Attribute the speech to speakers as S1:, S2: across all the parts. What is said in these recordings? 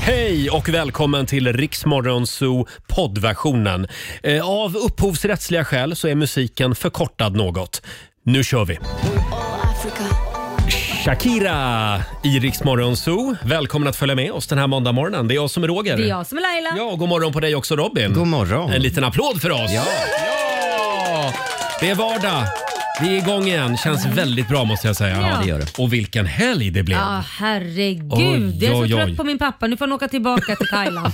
S1: Hej och välkommen till Riksmorgon Zoo poddversionen. Eh, Av upphovsrättsliga skäl så är musiken förkortad något. Nu kör vi! Shakira i Riksmorgon Zoo. Välkommen att följa med oss den här måndagmorgonen. Det är jag som är Roger.
S2: Det är jag som är Laila.
S1: Ja, och god morgon på dig också Robin.
S3: God morgon.
S1: En liten applåd för oss. Ja. Det är vardag. Vi är igång igen. Känns väldigt bra måste jag säga.
S2: Ja, det
S3: gör det.
S1: Och vilken helg det blev.
S2: Ja, herregud.
S1: Oj,
S2: jag är så
S1: oj, oj.
S2: trött på min pappa. Nu får han åka tillbaka till Thailand.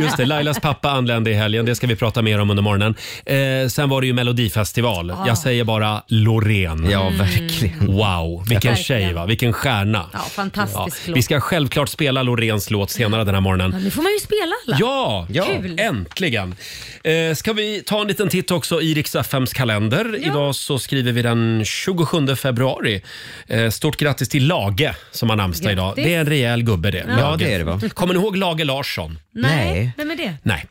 S1: Just det, Lailas pappa anlände i helgen. Det ska vi prata mer om under morgonen. Eh, sen var det ju Melodifestival. Jag säger bara Loreen.
S3: Ja, verkligen.
S1: Wow, vilken
S2: Verkligen.
S1: tjej va? Vilken stjärna.
S2: Ja, fantastisk låt.
S1: Vi ska självklart spela Loreens låt senare den här
S2: Ja,
S1: morgonen.
S2: nu får man ju spela alla.
S1: Ja,
S3: Ja.
S2: Kul.
S1: äntligen! Eh, ska vi ta en liten titt också i Rix FMs kalender. Idag så skriver vi den 27 februari. Eh, stort grattis till Lage som har namnsdag idag.
S2: Grattis.
S1: Det är en rejäl gubbe det.
S3: Ja,
S1: Lage.
S3: det är det va?
S1: Kommer ni ihåg Lage Larsson?
S2: Nej,
S3: Nej.
S2: vem är det?
S1: Nej.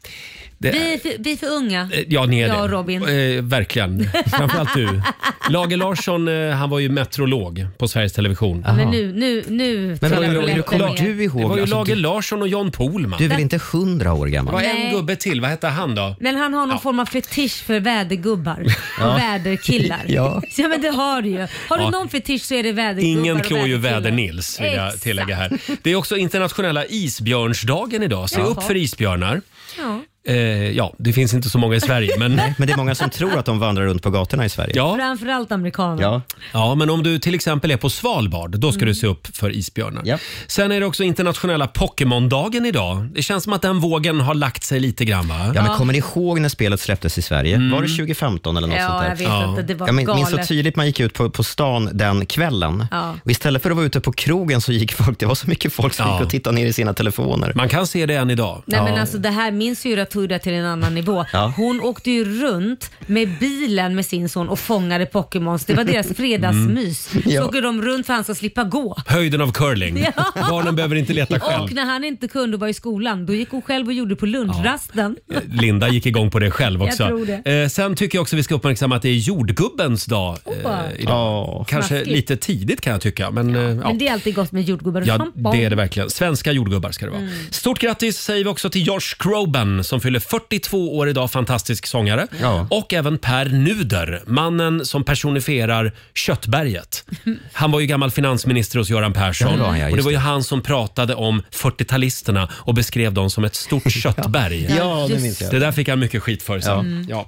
S1: Det-
S2: Vi är för, vi är för unga.
S1: Eh, Ja, ni är
S2: Ja,
S1: det.
S2: Robin.
S1: Eh, verkligen. Framförallt du. Lager Larsson, eh, han var ju meteorolog på Sveriges Television.
S2: Men nu, nu, nu
S3: Men
S2: tar
S3: vad-
S2: jag
S3: hur
S2: tabletten
S3: kommer
S2: med.
S3: du ihåg?
S1: Det var ju
S3: Alltså,
S1: Lager
S3: du,
S1: Larsson och John Pohlman.
S3: du är väl inte hundra år
S1: Det var
S3: gammal?
S1: en
S2: Nej.
S1: gubbe till. Vad hette han då?
S2: Men han har någon form av fetisch för vädergubbar och väderkillar.
S3: Ja.
S2: ja men det har du ju. Har du
S1: Ja.
S2: någon fetisch så är det vädergubbar
S1: Ingen
S2: och
S1: klår ju
S2: väderkillar.
S1: väder-Nils vill jag
S2: Exakt.
S1: tillägga här. Det är också internationella isbjörnsdagen idag. Se
S2: Jaha.
S1: upp för isbjörnar.
S2: Ja.
S1: Eh, ja, det finns inte så många i Sverige, men,
S3: Men det är många som tror att de vandrar runt på gatorna i Sverige.
S1: ja.
S2: Framförallt amerikaner.
S3: Ja.
S1: Ja, men om du till exempel är på Svalbard, då ska
S2: Mm.
S1: du se upp för isbjörnar.
S3: Ja.
S1: Sen är det också internationella Pokémon-dagen idag. Det känns som att den vågen har lagt sig lite grann va?
S3: Ja, men kommer ni ihåg när spelet släpptes i Sverige?
S1: Mm.
S3: Var det 2015 eller något sånt
S2: Ja,
S3: där?
S2: jag vet
S1: Ja.
S2: inte. Det var
S3: Jag min- minns
S2: galet.
S3: så tydligt man gick ut på, på stan den kvällen.
S2: Ja.
S3: Och istället för att vara ute på krogen så gick folk, det var så mycket folk som
S1: Ja.
S3: gick och tittade ner i sina telefoner.
S1: Man kan se det än idag.
S2: Nej men alltså det här minns ju Ratuda till en annan nivå.
S3: Ja.
S2: Hon åkte ju runt med bilen med sin son och fångade Pokémons. Det var deras fredagsmys. Så
S3: Ja.
S2: åker de runt för att han ska slippa gå.
S1: Höjden av curling.
S2: Ja.
S1: Barnen behöver inte leta själv.
S2: Och när han inte kunde vara i skolan, då gick hon själv och gjorde på lunchrasten.
S1: Linda gick igång på det själv
S2: Jag
S1: också.
S2: tror det.
S1: Eh, sen tycker jag också vi ska uppmärksamma att det är jordgubbens dag
S2: Opa.
S1: eh, idag.
S3: Ja.
S1: Kanske
S2: Smaskigt.
S1: lite tidigt kan jag tycka. Men, eh, ja.
S2: Men det är alltid gott med jordgubbar och Mm.
S1: Ja,
S2: champong.
S1: det är det verkligen. Svenska jordgubbar ska det vara. Stort grattis säger vi också till Josh Groban som fyller 42 år idag, fantastisk sångare.
S3: Ja.
S1: Och även Per Nuder, mannen som personifierar Köttberget. Han var ju gammal finansminister hos Göran Persson.
S3: Ja, det var han, ja,
S1: och det
S3: just
S1: var ju han som pratade om 40-talisterna och beskrev dem som ett stort köttberg.
S3: Ja, det minns
S1: Det
S3: jag.
S1: där fick han mycket skit för
S2: Mm.
S1: sen. Ja.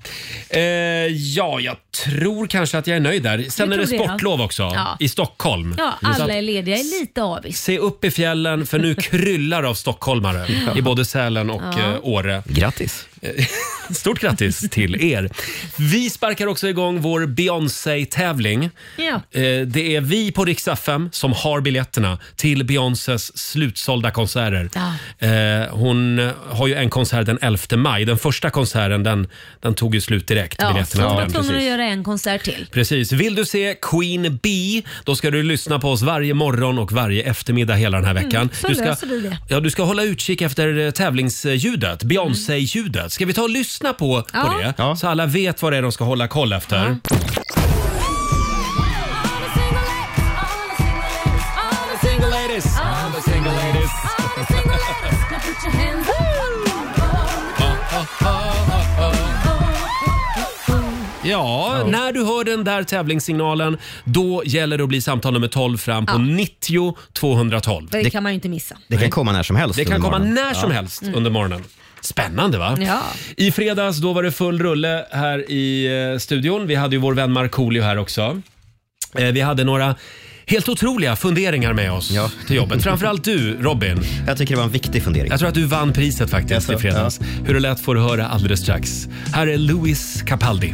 S1: Eh, ja, jag tror kanske att jag är nöjd där. Sen
S2: Jag
S1: är det
S2: tror det, ja.
S1: sportlov också
S2: Ja.
S1: i Stockholm.
S2: Ja,
S1: Så att-
S2: alla är lediga. Jag är lite avis.
S1: Se upp i fjällen för nu kryllar av stockholmare i både Sälen och eh, Åre. Eh,
S3: Grattis.
S1: Stort grattis till er! Vi sparkar också igång vår Beyoncé-tävling.
S2: Ja.
S1: Eh, Det är vi på Rix FM som har biljetterna till Beyoncés slutsålda konserter.
S2: Ja.
S1: Eh, Hon har ju en konsert den 11 maj. Den första konserten den, den tog ju slut direkt.
S2: Ja, så
S1: biljetterna
S2: hon
S1: till
S2: var
S1: den.
S2: tvungen att
S3: precis.
S2: göra en konsert till.
S1: Precis. Vill du se Queen Bee, då ska du lyssna på oss varje morgon och varje eftermiddag hela den här veckan.
S2: Mm, så
S1: du, ska,
S2: löser vi det. Mm.
S1: Ja, du ska hålla utkik efter eh, tävlingsljudet, Beyoncé-ljudet. Ska vi ta och lyssna på, på
S2: Ja.
S1: det?
S3: Ja.
S1: Så alla vet vad det är de ska hålla koll efter. Ja, när du hör den där tävlingssignalen, då gäller det att bli samtal nummer 12 fram på 90 212.
S2: Det kan man ju inte missa.
S3: Det kan komma när som helst
S1: Det kan
S3: under
S1: komma
S3: morgonen.
S1: när som helst under morgonen. Spännande va?
S2: Mm. Ja.
S1: I fredags då var det full rulle här i eh, studion. Vi hade ju vår vän Markoolio här också. Eh, vi hade några helt otroliga funderingar med oss
S3: Ja.
S1: till jobbet. Framförallt du Robin.
S3: Jag tycker det var en viktig fundering.
S1: Jag tror att du vann priset faktiskt
S3: Jaså,
S1: i fredags. Hur det lät får du höra alldeles strax. Här är Louis Capaldi.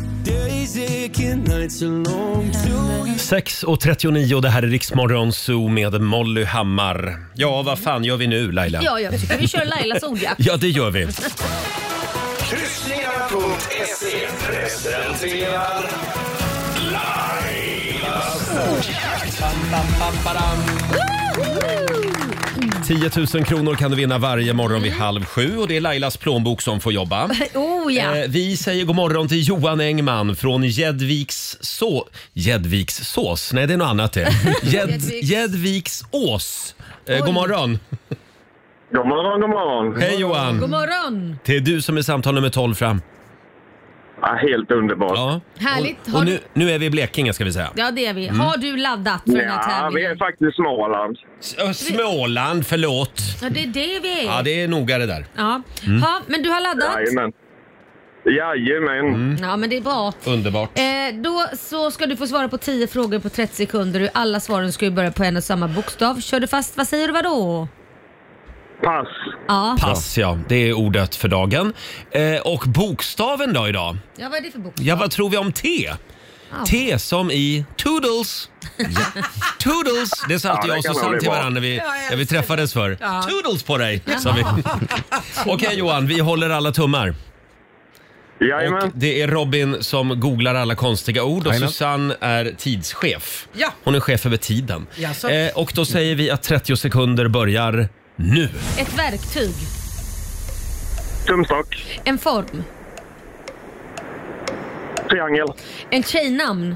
S1: 6.39, det här är Riksmorgon Zoo med Molly Hammar. Ja, vad fan gör vi nu Laila?
S2: Ja, jag tycker vi kör Lailas ordjakt.
S1: Ja, det gör vi.
S4: Kryssningarna.se presenterar Lailas ordjakt.
S1: 10 000 kronor kan du vinna varje morgon vid halv sju och det är Lailas plånbok som får jobba.
S2: Oh ja.
S1: Eh, Vi säger god morgon till Johan Engman från Gäddviks så... Gäddviks sås? Nej, det är något annat det. Gädd-
S2: Gäddviks.
S1: Gäddviks ås. Eh, god morgon.
S5: God morgon, god morgon.
S1: Hej
S2: God
S1: Johan!
S2: morgon!
S1: Det är du som är samtal nummer 12 fram.
S5: Ja, helt underbart. Ja,
S1: Ja.
S2: Härligt.
S1: Och
S2: Har
S1: nu,
S2: du...
S1: nu är vi i Blekinge ska vi säga.
S2: Ja, det är vi.
S1: Mm.
S2: Har du laddat för den här
S5: vi är
S2: tävlingen?
S5: faktiskt Småland.
S1: S- ö, Småland, förlåt.
S2: Ja, det är det vi är.
S1: Ja, det Mm. är noga det där.
S2: Ja. Ha, men du har laddat?
S5: Jajamän. Jajamän.
S2: Ja, men det är bra.
S1: Underbart.
S2: Eh, då så ska du få svara på 10 frågor på 30 sekunder. Alla svaren ska ju börja på en och samma bokstav. Kör du fast, vad säger du vadå?
S5: Pass.
S2: Ja.
S1: Pass ja, det är ordet för dagen. Eh, och bokstaven då idag?
S2: ja, vad är det för bokstav?
S1: Ja, vad tror vi om T?
S5: Ah.
S1: T som i Toodles. Toodles! Det sa alltid
S5: Ja, det
S1: jag
S5: kan
S1: och Susanne
S5: bli
S1: till
S5: bra.
S1: varandra när vi, när vi träffades förr. Toodles på dig, sa vi. Okej Johan, vi håller alla tummar. Och
S5: Jajamän.
S1: det är Robin som googlar alla konstiga ord och
S3: Jajamän.
S1: Susanne är tidschef.
S6: Ja.
S1: Hon är chef över tiden.
S6: Jaså.
S1: Eh, och då säger vi att 30 sekunder börjar nu.
S2: Ett verktyg.
S5: Tumstock.
S2: En form.
S5: Triangel.
S2: En tjejnamn.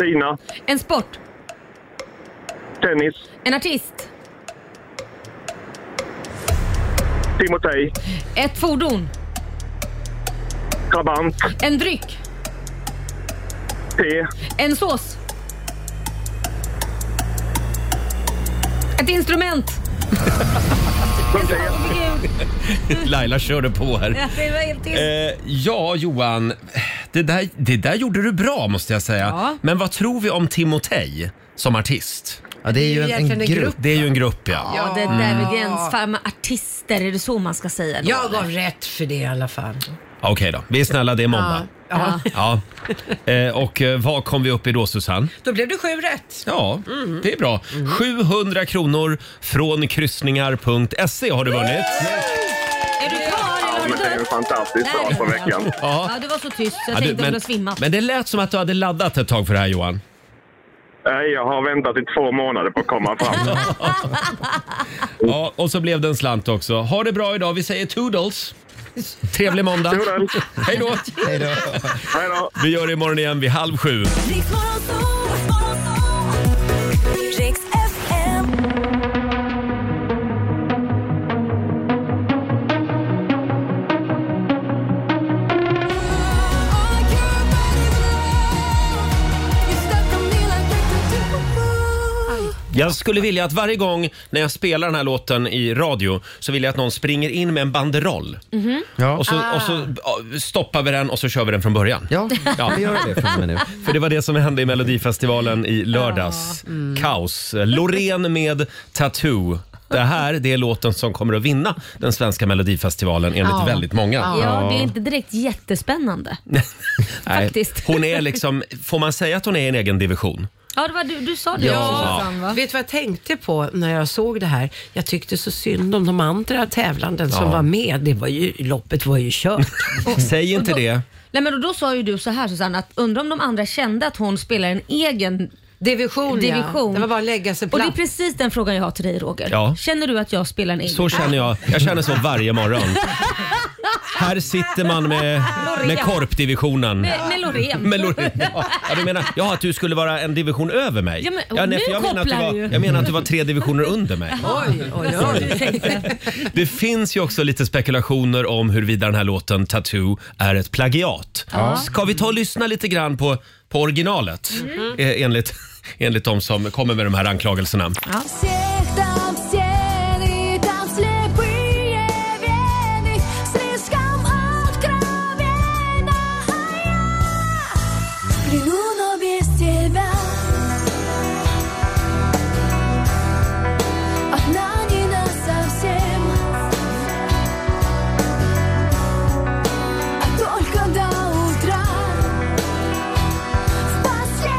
S5: Tina.
S2: En sport.
S5: Tennis.
S2: En artist.
S5: Timotej.
S2: Ett fordon.
S5: Trabant.
S2: En dryck.
S5: T.
S2: En sås. Ett instrument.
S5: E.
S2: Åh, Gud.
S1: Laila körde på här.
S2: Ja, det var helt tyst.
S1: Eh, ja, Johan. Det där, det där gjorde du bra måste jag säga.
S2: Ja.
S1: Men vad tror vi om Timotej som artist?
S3: Ja, det är ju en, en
S6: egentligen en
S3: grupp.
S1: Det är ju en grupp Mm. ja.
S2: Ja, det där med gränsfarma artister, är det så man ska säga då?
S6: Jag gav rätt för det i alla fall.
S1: Okej då, vi är snälla, det är måndag.
S6: Ja.
S1: Ja. Eh, och eh, vad kom vi upp i då Susanne?
S6: Då blev det sju rätt.
S1: Ja, det är bra.
S2: Mhm.
S1: 700 kronor från kryssningar.se har du vunnit.
S2: Är du kvar
S5: Ja,
S2: eller
S5: men det är
S2: har
S5: ju
S2: du
S5: fantastiskt bra på veckan.
S2: Ja, du var så tyst så jag
S1: Ja, du,
S2: tänkte att du
S1: men,
S2: hade svimmat.
S1: men det lät som att du hade laddat ett tag för det här Johan.
S5: Nej, Jag har väntat i två månader på att komma fram.
S1: Ja, och så blev det en slant också. Ha det bra idag. Vi säger toodles. Trevlig måndag.
S5: Toodles.
S1: Hej då.
S3: Hej då.
S5: Hej då.
S1: Vi gör det imorgon igen vid halv sju.
S7: Riks Morgonzoo, Morgonzoo. Riks FM.
S1: Jag skulle vilja att varje gång när jag spelar den här låten i radio så vill jag att någon springer in med en banderoll.
S2: Mm.
S3: Ja.
S1: Och så, och
S2: Ah.
S1: så ja, stoppar vi den och så kör vi den från början.
S3: Ja, vi gör det från och med nu.
S1: För det var det som hände i Melodifestivalen i lördags.
S2: Mm.
S1: Kaos. Loreen med Tattoo. Det här det är låten som kommer att vinna den svenska Melodifestivalen enligt
S6: Ja.
S1: väldigt många.
S2: Ja, det är inte direkt jättespännande.
S1: Nej,
S2: Faktiskt.
S1: Hon är liksom, får man säga att hon är i en egen division?
S2: Ja, det var du, du sa det
S1: Ja.
S2: också Susanne va?
S6: Vet du vad jag tänkte på när jag såg det här? Jag tyckte så synd om de andra tävlanden
S1: Ja.
S6: som var med. Det var ju, loppet var ju kört.
S1: Säg inte det.
S2: Nej men och då sa ju du så här Susanne, att undra om de andra kände att hon spelar en egen
S6: Division,
S2: division.
S6: ja. Det var bara att lägga sig
S2: Och det
S6: platt.
S2: är precis den frågan jag har till dig Roger.
S1: Ja.
S2: Känner du att jag spelar en egen?
S1: Så känner jag. Jag känner så varje morgon. Här sitter man med, med korpdivisionen.
S2: Med, med Loreen.
S1: Med Loreen. Ja, ja, du menar ja, att du skulle vara en division över mig?
S2: Ja, men-
S1: nej,
S2: nu
S1: för jag menar att du
S2: kopplar
S1: var,
S2: du ju.
S1: Jag menar att du var tre divisioner under mig.
S6: Oj, oj, oj.
S1: Det finns ju också lite spekulationer om huruvida den här låten Tattoo är ett plagiat. Ska vi ta och lyssna lite grann på, på originalet
S2: Mm-hmm.
S1: eh, enligt, enligt de som kommer med de här anklagelserna?
S7: Всех там стены, там слепые вены, слишком откровенно, а я в плену, но без тебя. Одна не на совсем, а только до утра. В последний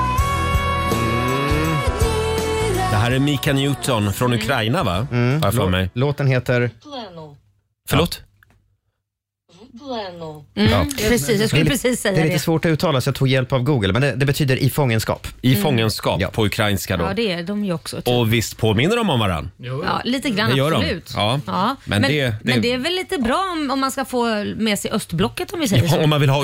S7: раз.
S1: Det här är Mika Newton
S2: Mm.
S1: från Mm. Ukraina va? Har jag för mig.
S3: Låten heter...
S1: Förlåt?
S8: Pleno.
S2: Mm, Precis, jag skulle
S3: Det är li-
S2: precis säga
S3: Det är lite
S2: det.
S3: svårt att uttala så jag tog hjälp av Google, men det, det betyder i fångenskap.
S1: I fångenskap
S3: Ja.
S1: på ukrainska då.
S2: Ja, det är de ju också. Typ.
S1: Och visst påminner de om varann?
S2: Ja, lite grann,
S1: Det gör de.
S2: absolut.
S1: Ja. Men
S2: Men, men,
S1: det-
S2: det,
S1: det-
S2: är väl lite bra om, om man ska få med sig östblocket om vi säger
S1: Ja,
S2: så.
S1: om man vill ha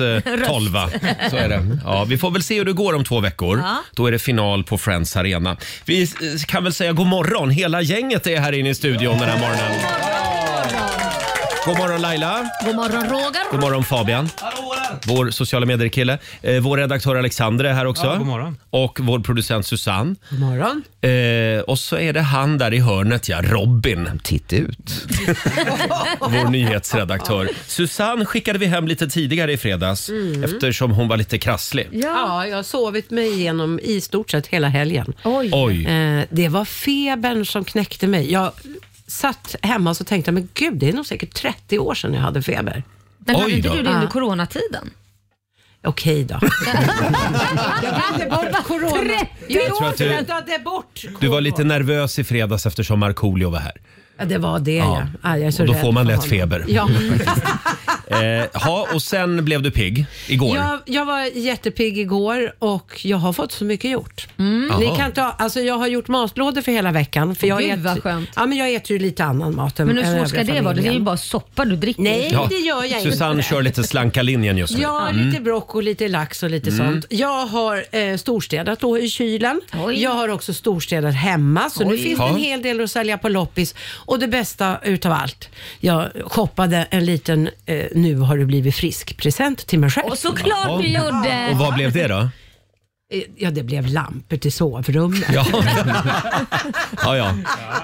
S1: eh, tolva. Så är det. Ja, vi får väl se hur det går om två veckor.
S2: Ja.
S1: Då är det final på Friends Arena. Vi eh, kan väl säga god morgon. Hela gänget är här inne i studion den här morgonen. God morgon Laila.
S2: God morgon Roger.
S1: God morgon Fabian. Vår sociala medier-kille. Eh, vår redaktör Alexander är här också.
S9: Ja, god morgon.
S1: Och vår producent Susanne.
S6: God morgon.
S1: Eh, och så är det han där i hörnet, ja, Robin,
S3: Titta ut.
S1: vår nyhetsredaktör. Susanne skickade vi hem lite tidigare i fredags
S6: Mm.
S1: eftersom hon var lite krasslig.
S6: Ja, jag har sovit mig igenom i stort sett hela helgen.
S2: Oj.
S1: Oj.
S6: Eh, det var febern som knäckte mig. Jag satt hemma och så tänkte jag, men gud, det är nog säkert 30 år sedan jag hade feber.
S2: Men
S1: Oj
S2: hade inte
S1: då.
S2: du det under
S6: Ja.
S2: coronatiden?
S6: Okej då. jag glömde bort corona.
S2: 30
S6: Jag
S1: tror att du-
S6: glömde bort corona.
S1: Du var lite nervös i fredags eftersom Markoolio var här.
S6: Ja, det var det ja. Ah, jag är så
S1: Och då
S6: rädd
S1: får man
S6: för
S1: lätt
S6: honom.
S1: feber.
S6: Ja.
S1: Eh, ha, och sen blev du pigg igår.
S6: Jag, jag var jättepigg igår och jag har fått så mycket gjort. Ni
S1: Jaha.
S6: kan ta, alltså jag har gjort matlådor för hela veckan. För jag
S2: Mm. Gud,
S6: äter,
S2: vad skönt.
S6: Ja, men jag äter ju lite annan mat än
S2: Men hur
S6: än
S2: svårt
S6: övriga
S2: ska det vara? Det är ju
S6: familjen.
S2: bara soppa du dricker.
S6: Nej,
S1: Ja,
S6: det gör jag inte.
S1: Susanne kör lite slanka linjen just nu.
S6: Ja, lite broccoli, lite lax och lite
S1: Mm.
S6: sånt. Jag har eh, storstädat då i kylen.
S2: Oj.
S6: Jag har också storstädat hemma. Så nu
S2: Oj.
S6: finns
S1: Ja.
S6: det en hel del att sälja på loppis. Och det bästa utav allt, jag shoppade en liten eh, nu har du blivit frisk-present till mig själv.
S2: Och såklart du gjorde!
S1: Och vad blev det då?
S6: Eh, Ja, det blev lampor till sovrummet.
S1: Ja, ja. ja.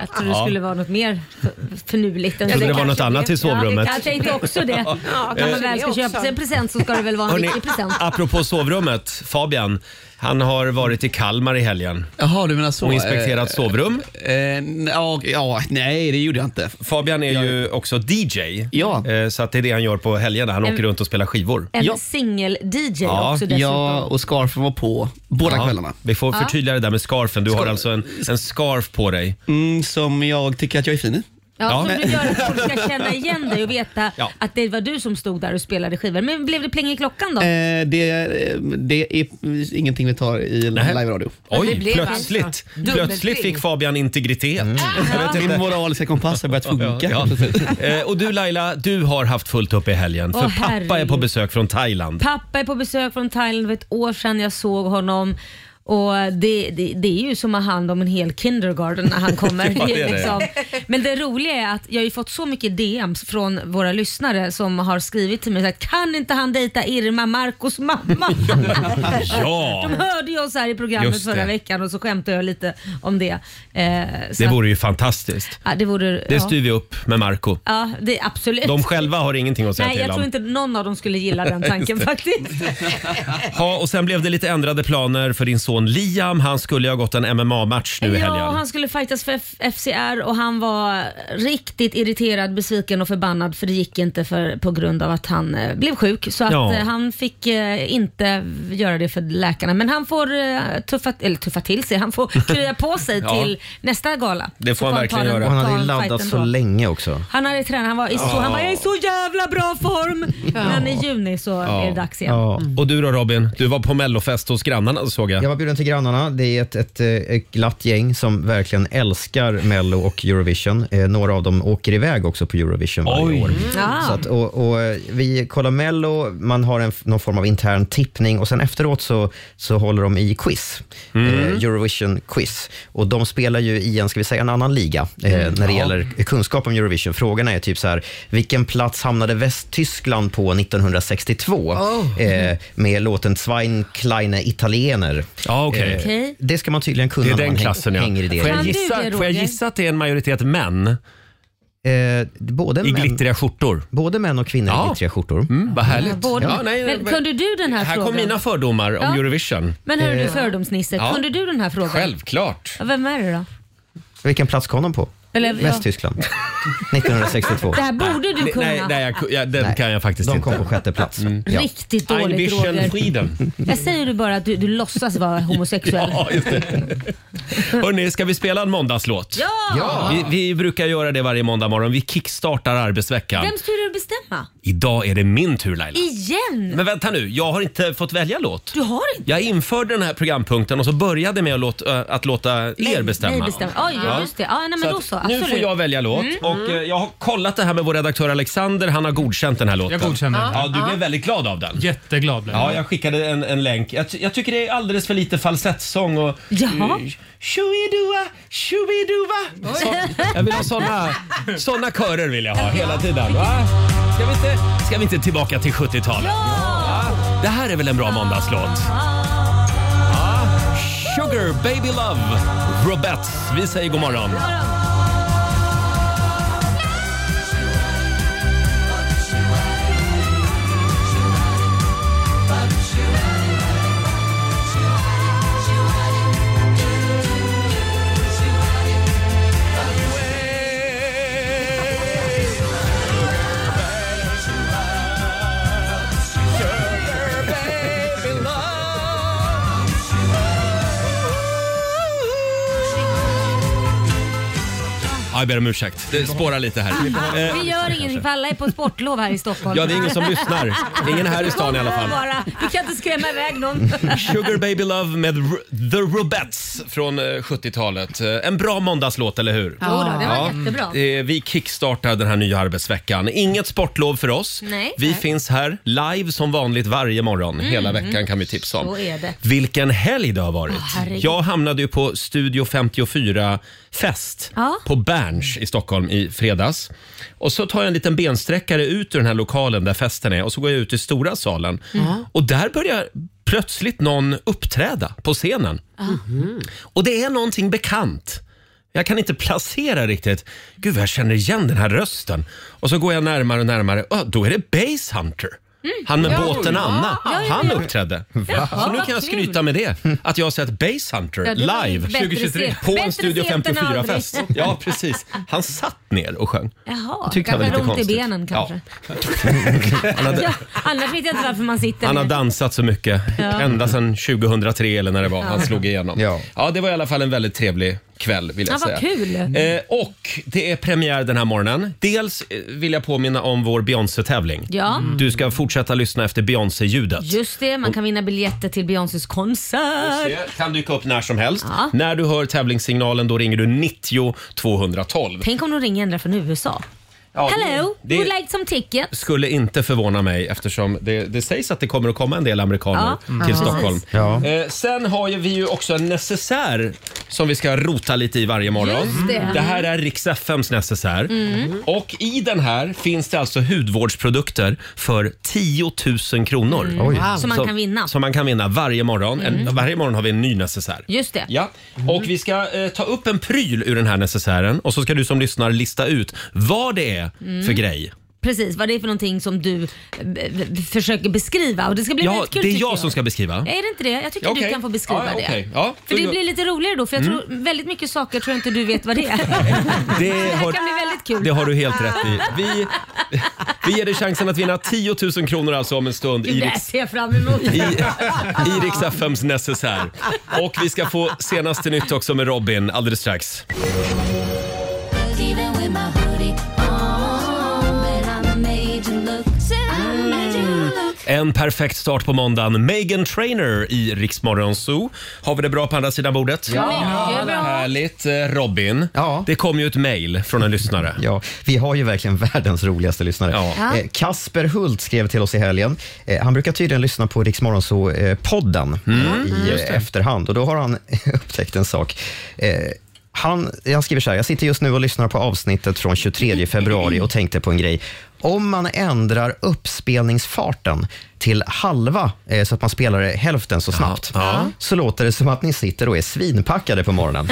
S2: Jag trodde det skulle vara något mer för- förnuligt. än
S1: Jag trodde det var något
S6: kanske
S1: annat
S6: blev-
S1: i sovrummet.
S2: Jag tänkte också det.
S6: Ja,
S2: Om
S6: kanske
S2: man väl
S6: det
S2: ska
S6: också.
S2: köpa sig en present så ska det väl vara en
S1: Hörrni,
S2: riktig present.
S1: apropå sovrummet, Fabian. Han har varit i Kalmar i helgen
S9: Jaha, du menar så.
S1: och inspekterat sovrum.
S9: Eh, eh, ja, ja, nej, det gjorde jag inte.
S1: Fabian är ju också DJ,
S9: Ja.
S1: Eh, så att det är det han gör på helgerna. Han åker runt och spelar skivor.
S2: En
S9: Ja.
S2: singel-DJ
S1: Ja,
S2: också dessutom.
S9: Ja, och scarfen var på båda
S1: Ja,
S9: kvällarna.
S1: vi får förtydliga det där med scarfen. Du har
S9: Scarf.
S1: alltså en, en scarf på dig.
S9: Mm, som jag tycker att jag är fin i.
S2: Ja,
S1: Ja.
S2: Som du gör att folk ska känna igen dig och veta
S1: Ja.
S2: att det var du som stod där och spelade skivor. Men blev det pling i klockan då?
S9: Eh, det, eh, det är ingenting vi tar i
S1: Nej.
S9: live-radio.
S6: det
S1: Oj,
S6: blev
S1: plötsligt,
S6: alltså
S1: plötsligt
S6: dubbelting.
S1: fick Fabian integritet.
S9: Mm.
S1: Jag vet
S9: Min
S1: inte.
S9: moraliska kompass har börjat funka.
S1: Ja. Eh, Och du Laila, du har haft fullt upp i helgen för
S2: Åh,
S1: pappa är på
S2: herregud.
S1: besök från Thailand.
S2: Pappa är på besök från Thailand för ett år sedan jag såg honom. Och det, det, det är ju som att ha hand om en hel kindergarten när han kommer.
S1: Ja, det
S2: Det
S1: är
S2: är
S1: det.
S2: liksom. Men det roliga är att jag har ju fått så mycket DMs från våra lyssnare som har skrivit till mig att kan inte han dejta Irma, Marcos mamma?
S1: Ja,
S2: De hörde ju oss här i programmet
S1: Just
S2: förra
S1: det.
S2: veckan och så skämtade jag lite om det. Eh, så
S1: det
S2: att-
S1: vore ju fantastiskt.
S2: ja, det vore...
S1: Det
S2: ja.
S1: styr vi upp med Marco.
S2: Ja, det, absolut.
S1: De själva har ingenting att säga
S2: Nej,
S1: till
S2: jag
S1: om.
S2: tror inte någon av dem skulle gilla den tanken faktiskt.
S1: Ja, och sen blev det lite ändrade planer för din son Liam. Han skulle ju ha gått en MMA-match nu i helgen.
S2: Ja, och han skulle fightas för F- FCR och han var riktigt irriterad, besviken och förbannad för det gick inte för, på grund av att han eh, blev sjuk. Så att
S1: Ja.
S2: eh, han fick eh, inte göra det för läkarna. Men han får eh, tuffa, eller tuffa till sig, han får krya på sig
S1: Ja.
S2: till nästa gala.
S1: Det får
S2: Så
S1: han
S2: ta
S1: verkligen
S2: den-
S1: göra.
S3: Och han
S2: ta
S3: hade ju
S2: den
S3: laddat
S2: fighten
S3: så
S2: då.
S3: länge också.
S2: Han hade tränat, han var i så, han var, jag är i så jävla bra form. Men i juni så är det dags igen.
S3: Ja.
S1: Och du då Robin, du var på mellofest hos grannarna såg jag.
S3: Jag var bjuden till grannarna. Det är ett, ett, eh, ett glatt gäng som verkligen älskar Mello och Eurovision. Eh, några av dem åker iväg också på Eurovision varje
S1: Oj.
S3: år.
S2: Ja.
S1: Ah.
S3: Så att, och, och eh, vi kollar Mello, man har en, f- någon form av intern tippning och sen efteråt så, så håller de i quiz.
S1: Mm.
S3: Eh, Eurovision-quiz. Och de spelar ju i en, ska vi säga, en annan liga eh,
S1: Mm.
S3: när det gäller kunskap om Eurovision. Frågorna är typ så här, vilken plats hamnade Västtyskland på 1962?
S1: Oh.
S3: Eh, med låten Zwei kleine Italiener. Eh,
S1: Ja, okej.
S2: Okej.
S3: Det ska man tydligen kunna
S1: Det är
S3: när
S1: den
S3: man häng-
S1: klassen ja.
S3: hänger i det.
S1: Får jag,
S2: Kan du
S1: gissa,
S2: det,
S1: får jag
S2: Roger?
S1: gissa att det är en majoritet män
S3: Eh, både,
S1: i
S3: män,
S1: glittriga skjortor?
S3: både män och kvinnor
S1: Ja.
S3: i glittriga skjortor.
S1: Mm, vad härligt.
S2: Både,
S1: Ja, nej,
S2: men, kunde du den här,
S1: här
S2: frågan?
S1: kom mina fördomar om
S2: Ja.
S1: Eurovision.
S2: Men hörru du fördomsnisse,
S1: Eh, Ja.
S2: kunde du den här frågan?
S1: Självklart.
S2: Ja, Vem är det då?
S3: Vilken plats kom de på?
S2: Eller, ja.
S3: Västtyskland. 1962.
S2: Det här borde du kunna.
S1: Nej, nej, jag, ja, den
S3: Nej,
S1: kan jag faktiskt
S3: De
S1: inte.
S3: kom på sjätte plats. Ja.
S2: Riktigt dåligt
S1: Einbischen
S2: Roger.
S1: Frieden.
S2: Jag säger du bara att du, du låtsas vara homosexuell.
S1: Ja, just det. Hörrni, ska vi spela en måndagslåt?
S2: Ja!
S1: Vi, vi brukar göra det varje måndag morgon. Vi kickstartar arbetsveckan.
S2: Vem skulle du bestämma?
S1: Idag är det min tur Laila.
S2: Igen?
S1: Men vänta nu, jag har inte fått välja låt.
S2: Du har inte?
S1: Jag införde den här programpunkten och så började med att låta, äh, att låta er bestämma.
S2: Nej, bestämma. Oj, ja, just det. Ja, nej, men
S1: Så
S2: då
S1: att
S2: så.
S1: nu
S2: Absolut. Mm.
S1: får jag välja låt och eh, jag har kollat det här med vår redaktör Alexander. Han har godkänt den här låten.
S8: Jag godkänner den.
S1: Ja, du blev väldigt glad av den.
S8: Jätteglad blev
S1: Ja,
S8: jag.
S1: jag skickade en, en länk. Jag, ty- jag tycker det är alldeles för lite falsettsång och...
S2: Jaha.
S1: Mm. Shooidua, shooiduva. Så- Jag vill ha såna, såna körer vill jag ha hela tiden. Va? Ska, vi inte, ska vi inte tillbaka till 70-talet? Va? Det här är väl en bra måndagslåt? Ja. Sugar Baby Love, Robettes. Vi säger god morgon. Ja, jag ber om ursäkt. Det spårar lite här. Eh,
S2: Vi gör ingenting för alla är på sportlov här i Stockholm.
S1: Ja, det är ingen som lyssnar. Ingen här i stan i alla fall.
S2: Bara. Du kan inte skrämma iväg någon.
S1: Sugar Baby Love med R- The Robettes från eh, 70-talet. Eh, En bra måndagslåt, eller hur?
S2: Jo då, det var
S1: Ja.
S2: jättebra.
S1: Eh, Vi kickstartar den här nya arbetsveckan. Inget sportlov för oss.
S2: Nej.
S1: vi
S2: Nej. Mhm.
S1: finns här live som vanligt varje morgon. Hela veckan kan vi tipsa om.
S2: Så är det.
S1: Vilken helg det har varit.
S2: herregud.
S1: Jag hamnade ju på Studio 54-fest
S2: Ja.
S1: på Berns i Stockholm i fredags. Och så tar jag en liten bensträckare ut ur den här lokalen där festen är och så går jag ut i stora salen. Och där börjar plötsligt någon uppträda på scenen. Och det är någonting bekant. Jag kan inte placera riktigt. Gud, vad jag känner igen den här rösten. Och så går jag närmare och närmare. Oh, då är det Bass Hunter.
S2: Mm.
S1: Han med båten Anna. Han uppträdde. Så nu kan jag skryta med det. Att jag har sett Bass Hunter
S2: Ja, det var ju
S1: live
S2: bättre
S1: 2023
S2: sent-
S1: på
S2: bättre
S1: en Studio
S2: sent än
S1: 54-fest. Ja, precis. Han satt ner och sjöng.
S2: Jaha,
S1: Tyckte han var
S2: kanske
S1: lite
S2: har ont i
S1: konstigt.
S2: benen
S1: Ja.
S2: kanske. Ja, annars vet jag inte varför man sitter
S1: Han har
S2: ner.
S1: dansat så mycket ända sedan 2003 eller när det var han slog igenom.
S3: Ja.
S1: det var i alla fall en väldigt trevlig kväll vill jag
S2: Ja,
S1: säga.
S2: vad kul.
S1: Eh, och det är premiär den här morgonen. Dels eh, vill jag påminna om vår Beyoncé-tävling.
S2: Ja.
S1: Du ska fortsätta lyssna efter Beyoncé-ljudet.
S2: Just det, man kan vinna biljetter till Beyoncés konsert.
S1: Det kan dyka upp när som helst.
S2: Ja.
S1: När du hör tävlingssignalen då ringer du 90 212.
S2: Tänk om de ringer ändra från USA.
S1: Ja,
S2: Hello,
S1: det-
S2: would like some ticket?
S1: skulle inte förvåna mig eftersom det, det sägs att det kommer att komma en del amerikaner
S2: Ja, mm.
S1: till
S2: ja.
S1: Stockholm.
S2: precis.
S3: Ja.
S1: Eh, sen har ju vi ju också en necessär som vi ska rota lite i varje morgon.
S2: Just det. Mm.
S1: här är Rix FMs necessär. Och i den här finns det alltså hudvårdsprodukter för 10 000 kronor.
S3: Oj.
S2: Mm. Som man kan vinna. Mm.
S1: Som man kan vinna varje morgon. En, varje morgon har vi en ny necessär.
S2: Just det.
S1: Ja, och vi ska eh, ta upp en pryl ur den här necessären och så ska du som lyssnar lista ut vad det är för
S2: Mm.
S1: grej.
S2: Precis, vad det är för någonting som du eh, b- b- försöker beskriva. Och det ska bli
S1: Ja,
S2: väldigt
S1: det
S2: kul
S1: är
S2: tycker
S1: jag som ska beskriva.
S2: Är det inte det? Jag tycker
S1: Okej.
S2: du kan få beskriva
S1: Ja, ja,
S2: det.
S1: okej. Mm. Ja,
S2: för
S1: då
S2: det
S1: gör-
S2: blir lite roligare då, för jag tror väldigt mycket saker tror jag inte du vet vad det är.
S1: Det
S2: Det här
S1: har,
S2: kan bli väldigt kul.
S1: det har du helt rätt i. Vi, vi ger dig chansen att vinna 10 000 kronor alltså om en stund i
S2: Gud, det här
S1: Riks,
S2: ser jag fram emot.
S1: i, i Rix FMs necessär. Och vi ska få senaste nytt också med Robin alldeles strax.
S7: Even with my hoodie on, man, I made you look. I made you look.
S1: En perfekt start på måndagen. Megan Trainer i Rix Morgon Zoo. Har vi det bra på andra sidan bordet?
S2: Mycket bra.
S1: Härligt. Eh, Robin,
S3: Ja.
S1: det kom ju ett mejl från en lyssnare.
S3: Ja, vi har ju verkligen världens roligaste lyssnare.
S1: Ja.
S2: Ja.
S3: Eh, Kasper Hult skrev till oss i helgen. Eh, han brukar tydligen lyssna på Rix Morgonzoo-podden i eh, efterhand och då har han upptäckt en sak. Eh, han, han skriver så här, jag sitter just nu och lyssnar på avsnittet från 23 februari och tänkte på en grej. Om man ändrar uppspelningsfarten till halva, eh, så att man spelar det hälften så snabbt, Mm.
S1: Ja.
S3: så låter det som att ni sitter och är svinpackade på morgonen.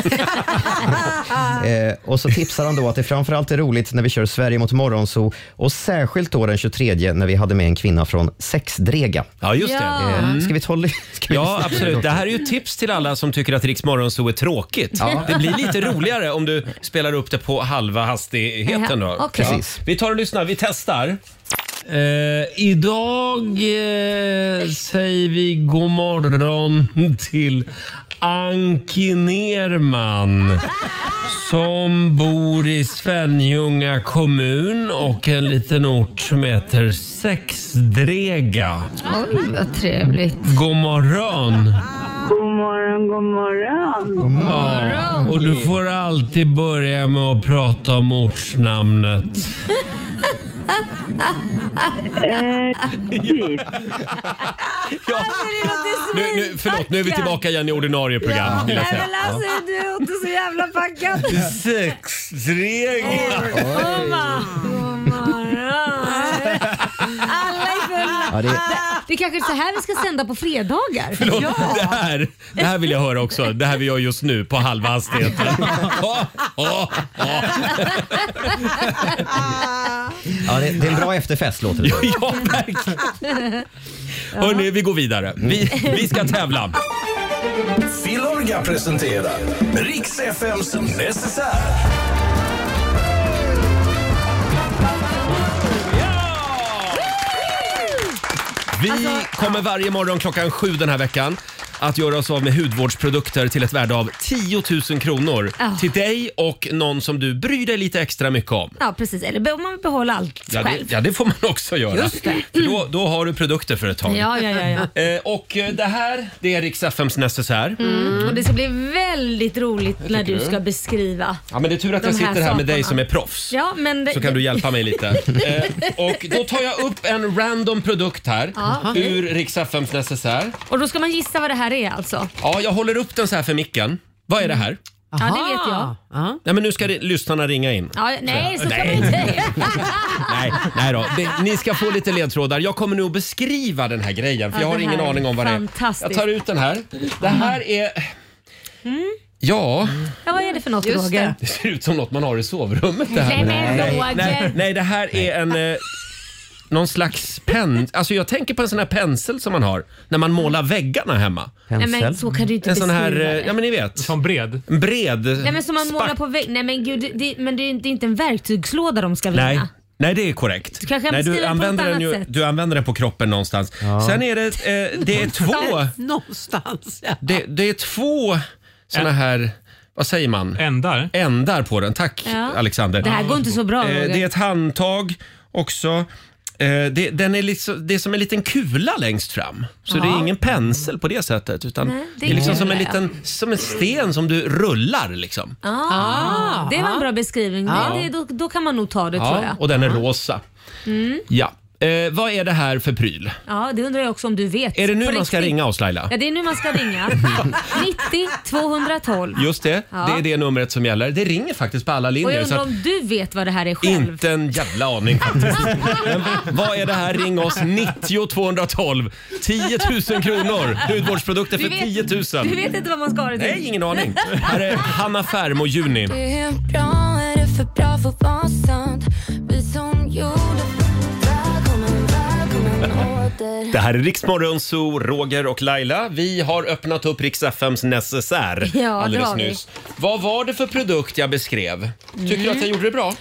S3: Eh, och så tipsar han då att det framförallt är roligt när vi kör Sverige mot morgonso och särskilt då den 23 när vi hade med en kvinna från Sexdrega.
S1: Ja, just det.
S2: Ja.
S3: Eh, Ska vi ta ly- ska vi lyssna
S1: Mm. Ja,
S3: på
S1: absolut.
S3: också?
S1: Det här är ju tips till alla som tycker att Riks Morgonzoo är tråkigt. Det blir lite roligare om du spelar upp det på halva hastigheten. Då.
S2: Ja, okej.
S3: Precis.
S1: Vi tar och lyssnar. Vi testar. Eh, idag eh, säger vi god morgon till Anki Nerman som bor i Svenljunga kommun och en liten ort som heter Sexdrega.
S2: Oj, vad trevligt.
S1: God morgon!
S8: God morgon, god morgon.
S1: Ja, och du får alltid börja med att prata om ortsnamnet.
S8: Eh, typ.
S1: ja. Nu, nu, förlåt, nu är vi tillbaka igen i ordinarie program. vill jag säga.
S2: alltså, du är inte så jävla packad.
S1: Sexregel!
S2: Mamma. Alla är fulla.
S3: Ja, det,
S2: Det är kanske är så här vi ska sända på fredagar.
S1: Förlåt, det, här, det här vill jag höra också. Det här vi gör just nu på halva hastigheten. Ja, ja, ja.
S3: ja, det, det är en bra efterfest låter det som.
S1: Ja, verkligen. Hörni, vi går vidare. Vi, vi ska tävla.
S4: Filorga presenterar Riks FMs necessär.
S1: Vi
S2: Alltså-
S1: kommer varje morgon klockan sju den här veckan att göra oss av med hudvårdsprodukter till ett värde av 10 000 kronor
S2: Ja.
S1: till dig och någon som du bryr dig lite extra mycket om.
S2: Ja, precis. Eller behöver man behålla allt
S1: Ja det,
S2: själv?
S1: ja, det får man också göra.
S2: Just det.
S1: För då, då har du produkter för ett tag.
S2: Ja, ja, ja. ja.
S1: Eh, och eh, det här, det är Rix FMs necessär.
S2: Mm. Och det ska bli väldigt roligt när du ska beskriva.
S1: Ja, men det är tur att
S2: De
S1: jag
S2: här
S1: sitter här med dig
S2: sakerna.
S1: som är proffs.
S2: Ja, men det,
S1: Så kan du hjälpa mig lite. Eh, och då tar jag upp en random produkt här
S2: Ja.
S1: ur Rix FMs necessär.
S2: Och då ska man gissa vad det här är alltså.
S1: Ja, jag håller upp den så här för micken. Vad är det här?
S2: Ja, det vet jag.
S6: Ja.
S1: Nej, men nu ska det, lyssnarna ringa in.
S2: Ja, nej, så kan
S1: Nej.
S2: man inte.
S1: Nej, nej då. Det, ni ska få lite ledtrådar. Jag kommer nog beskriva den här grejen för
S2: Ja,
S1: jag har
S2: det
S1: ingen
S2: här är
S1: aning om vad det är.
S2: fantastiskt. Mm.
S1: Jag tar ut den här. Det här är... Ja,
S2: Ja, vad är det för något
S6: Just
S2: Roger?
S6: det.
S1: det ser ut som något man har i sovrummet det
S2: Nej,
S1: här.
S2: men
S1: Nej,
S2: Roger.
S1: nej, det här är en... Eh, någon slags pensel. Alltså jag tänker på en sån här pensel som man har när man målar väggarna hemma.
S2: Nej, men
S3: Pensel.
S2: så kan du inte
S1: En sån
S2: beskriva
S1: här, eh,
S2: det.
S1: ja men ni vet.
S10: Som bred.
S1: En bred
S2: Nej men som man målar på vägg. Nej men gud, det- det, men det är inte- det är inte en verktygslåda de ska vinna.
S1: Nej. Nej, det är korrekt.
S2: Du kanske
S1: Nej,
S2: beskriver
S1: du,
S2: den på
S1: använder
S2: ett
S1: den
S2: annat
S1: ju,
S2: sätt.
S1: du använder den på kroppen någonstans. Sen är det, eh, det är två,
S6: Någonstans. Ja.
S1: det, det är två såna här, vad säger man,
S10: Ändar.
S1: ändar på den. Tack
S2: Ja.
S1: Alexander.
S2: Det här går inte så bra
S1: Eh,
S2: Roger.
S1: det är ett handtag också. Eh, det, den är liksom, det är som en liten kula längst fram. Så det är ingen pensel på det sättet. Utan
S2: Nej, det
S1: det
S2: är
S1: är, liksom
S2: kul,
S1: som en,
S2: ja.
S1: liten, som en sten som du rullar. Liksom.
S2: Ah, det var en bra beskrivning. Det, det, då, då kan man nog ta det tror
S1: Ja,
S2: jag. Mm.
S1: och den är rosa. Ja. Eh, vad är det här för pryl?
S2: Ja, det undrar jag också om du vet.
S1: Är det nu
S2: På
S1: man ska
S2: riktigt.
S1: ringa oss Laila?
S2: Ja, det är nu man ska ringa. 90 212.
S1: Just det,
S2: Ja.
S1: det är det numret som gäller. Det ringer faktiskt på alla
S2: Och
S1: linjer.
S2: jag
S1: Så
S2: undrar
S1: att
S2: om du vet vad det här är själv.
S1: inte en jävla aning faktiskt. Men vad är det här? Ring oss 90 212. 10 000 kronor. Hudvårdsprodukter för
S2: Du vet-
S1: 10 000.
S2: Du vet inte vad man ska ha det till.
S1: Nej, ingen aning. Här är Hanna Färm och Juni.
S7: Du är bra, är det för bra för att vara sant? Vi som gjorde Välkommen, välkommen åter
S1: Det här är Riksmorgon Zoo, Roger och Laila. Vi har öppnat upp Rix FMs necessär
S2: Ja, det
S1: alldeles
S2: har vi.
S1: nyss. Vad var det för produkt jag beskrev? Tycker du att
S2: Mm.
S1: jag gjorde det bra?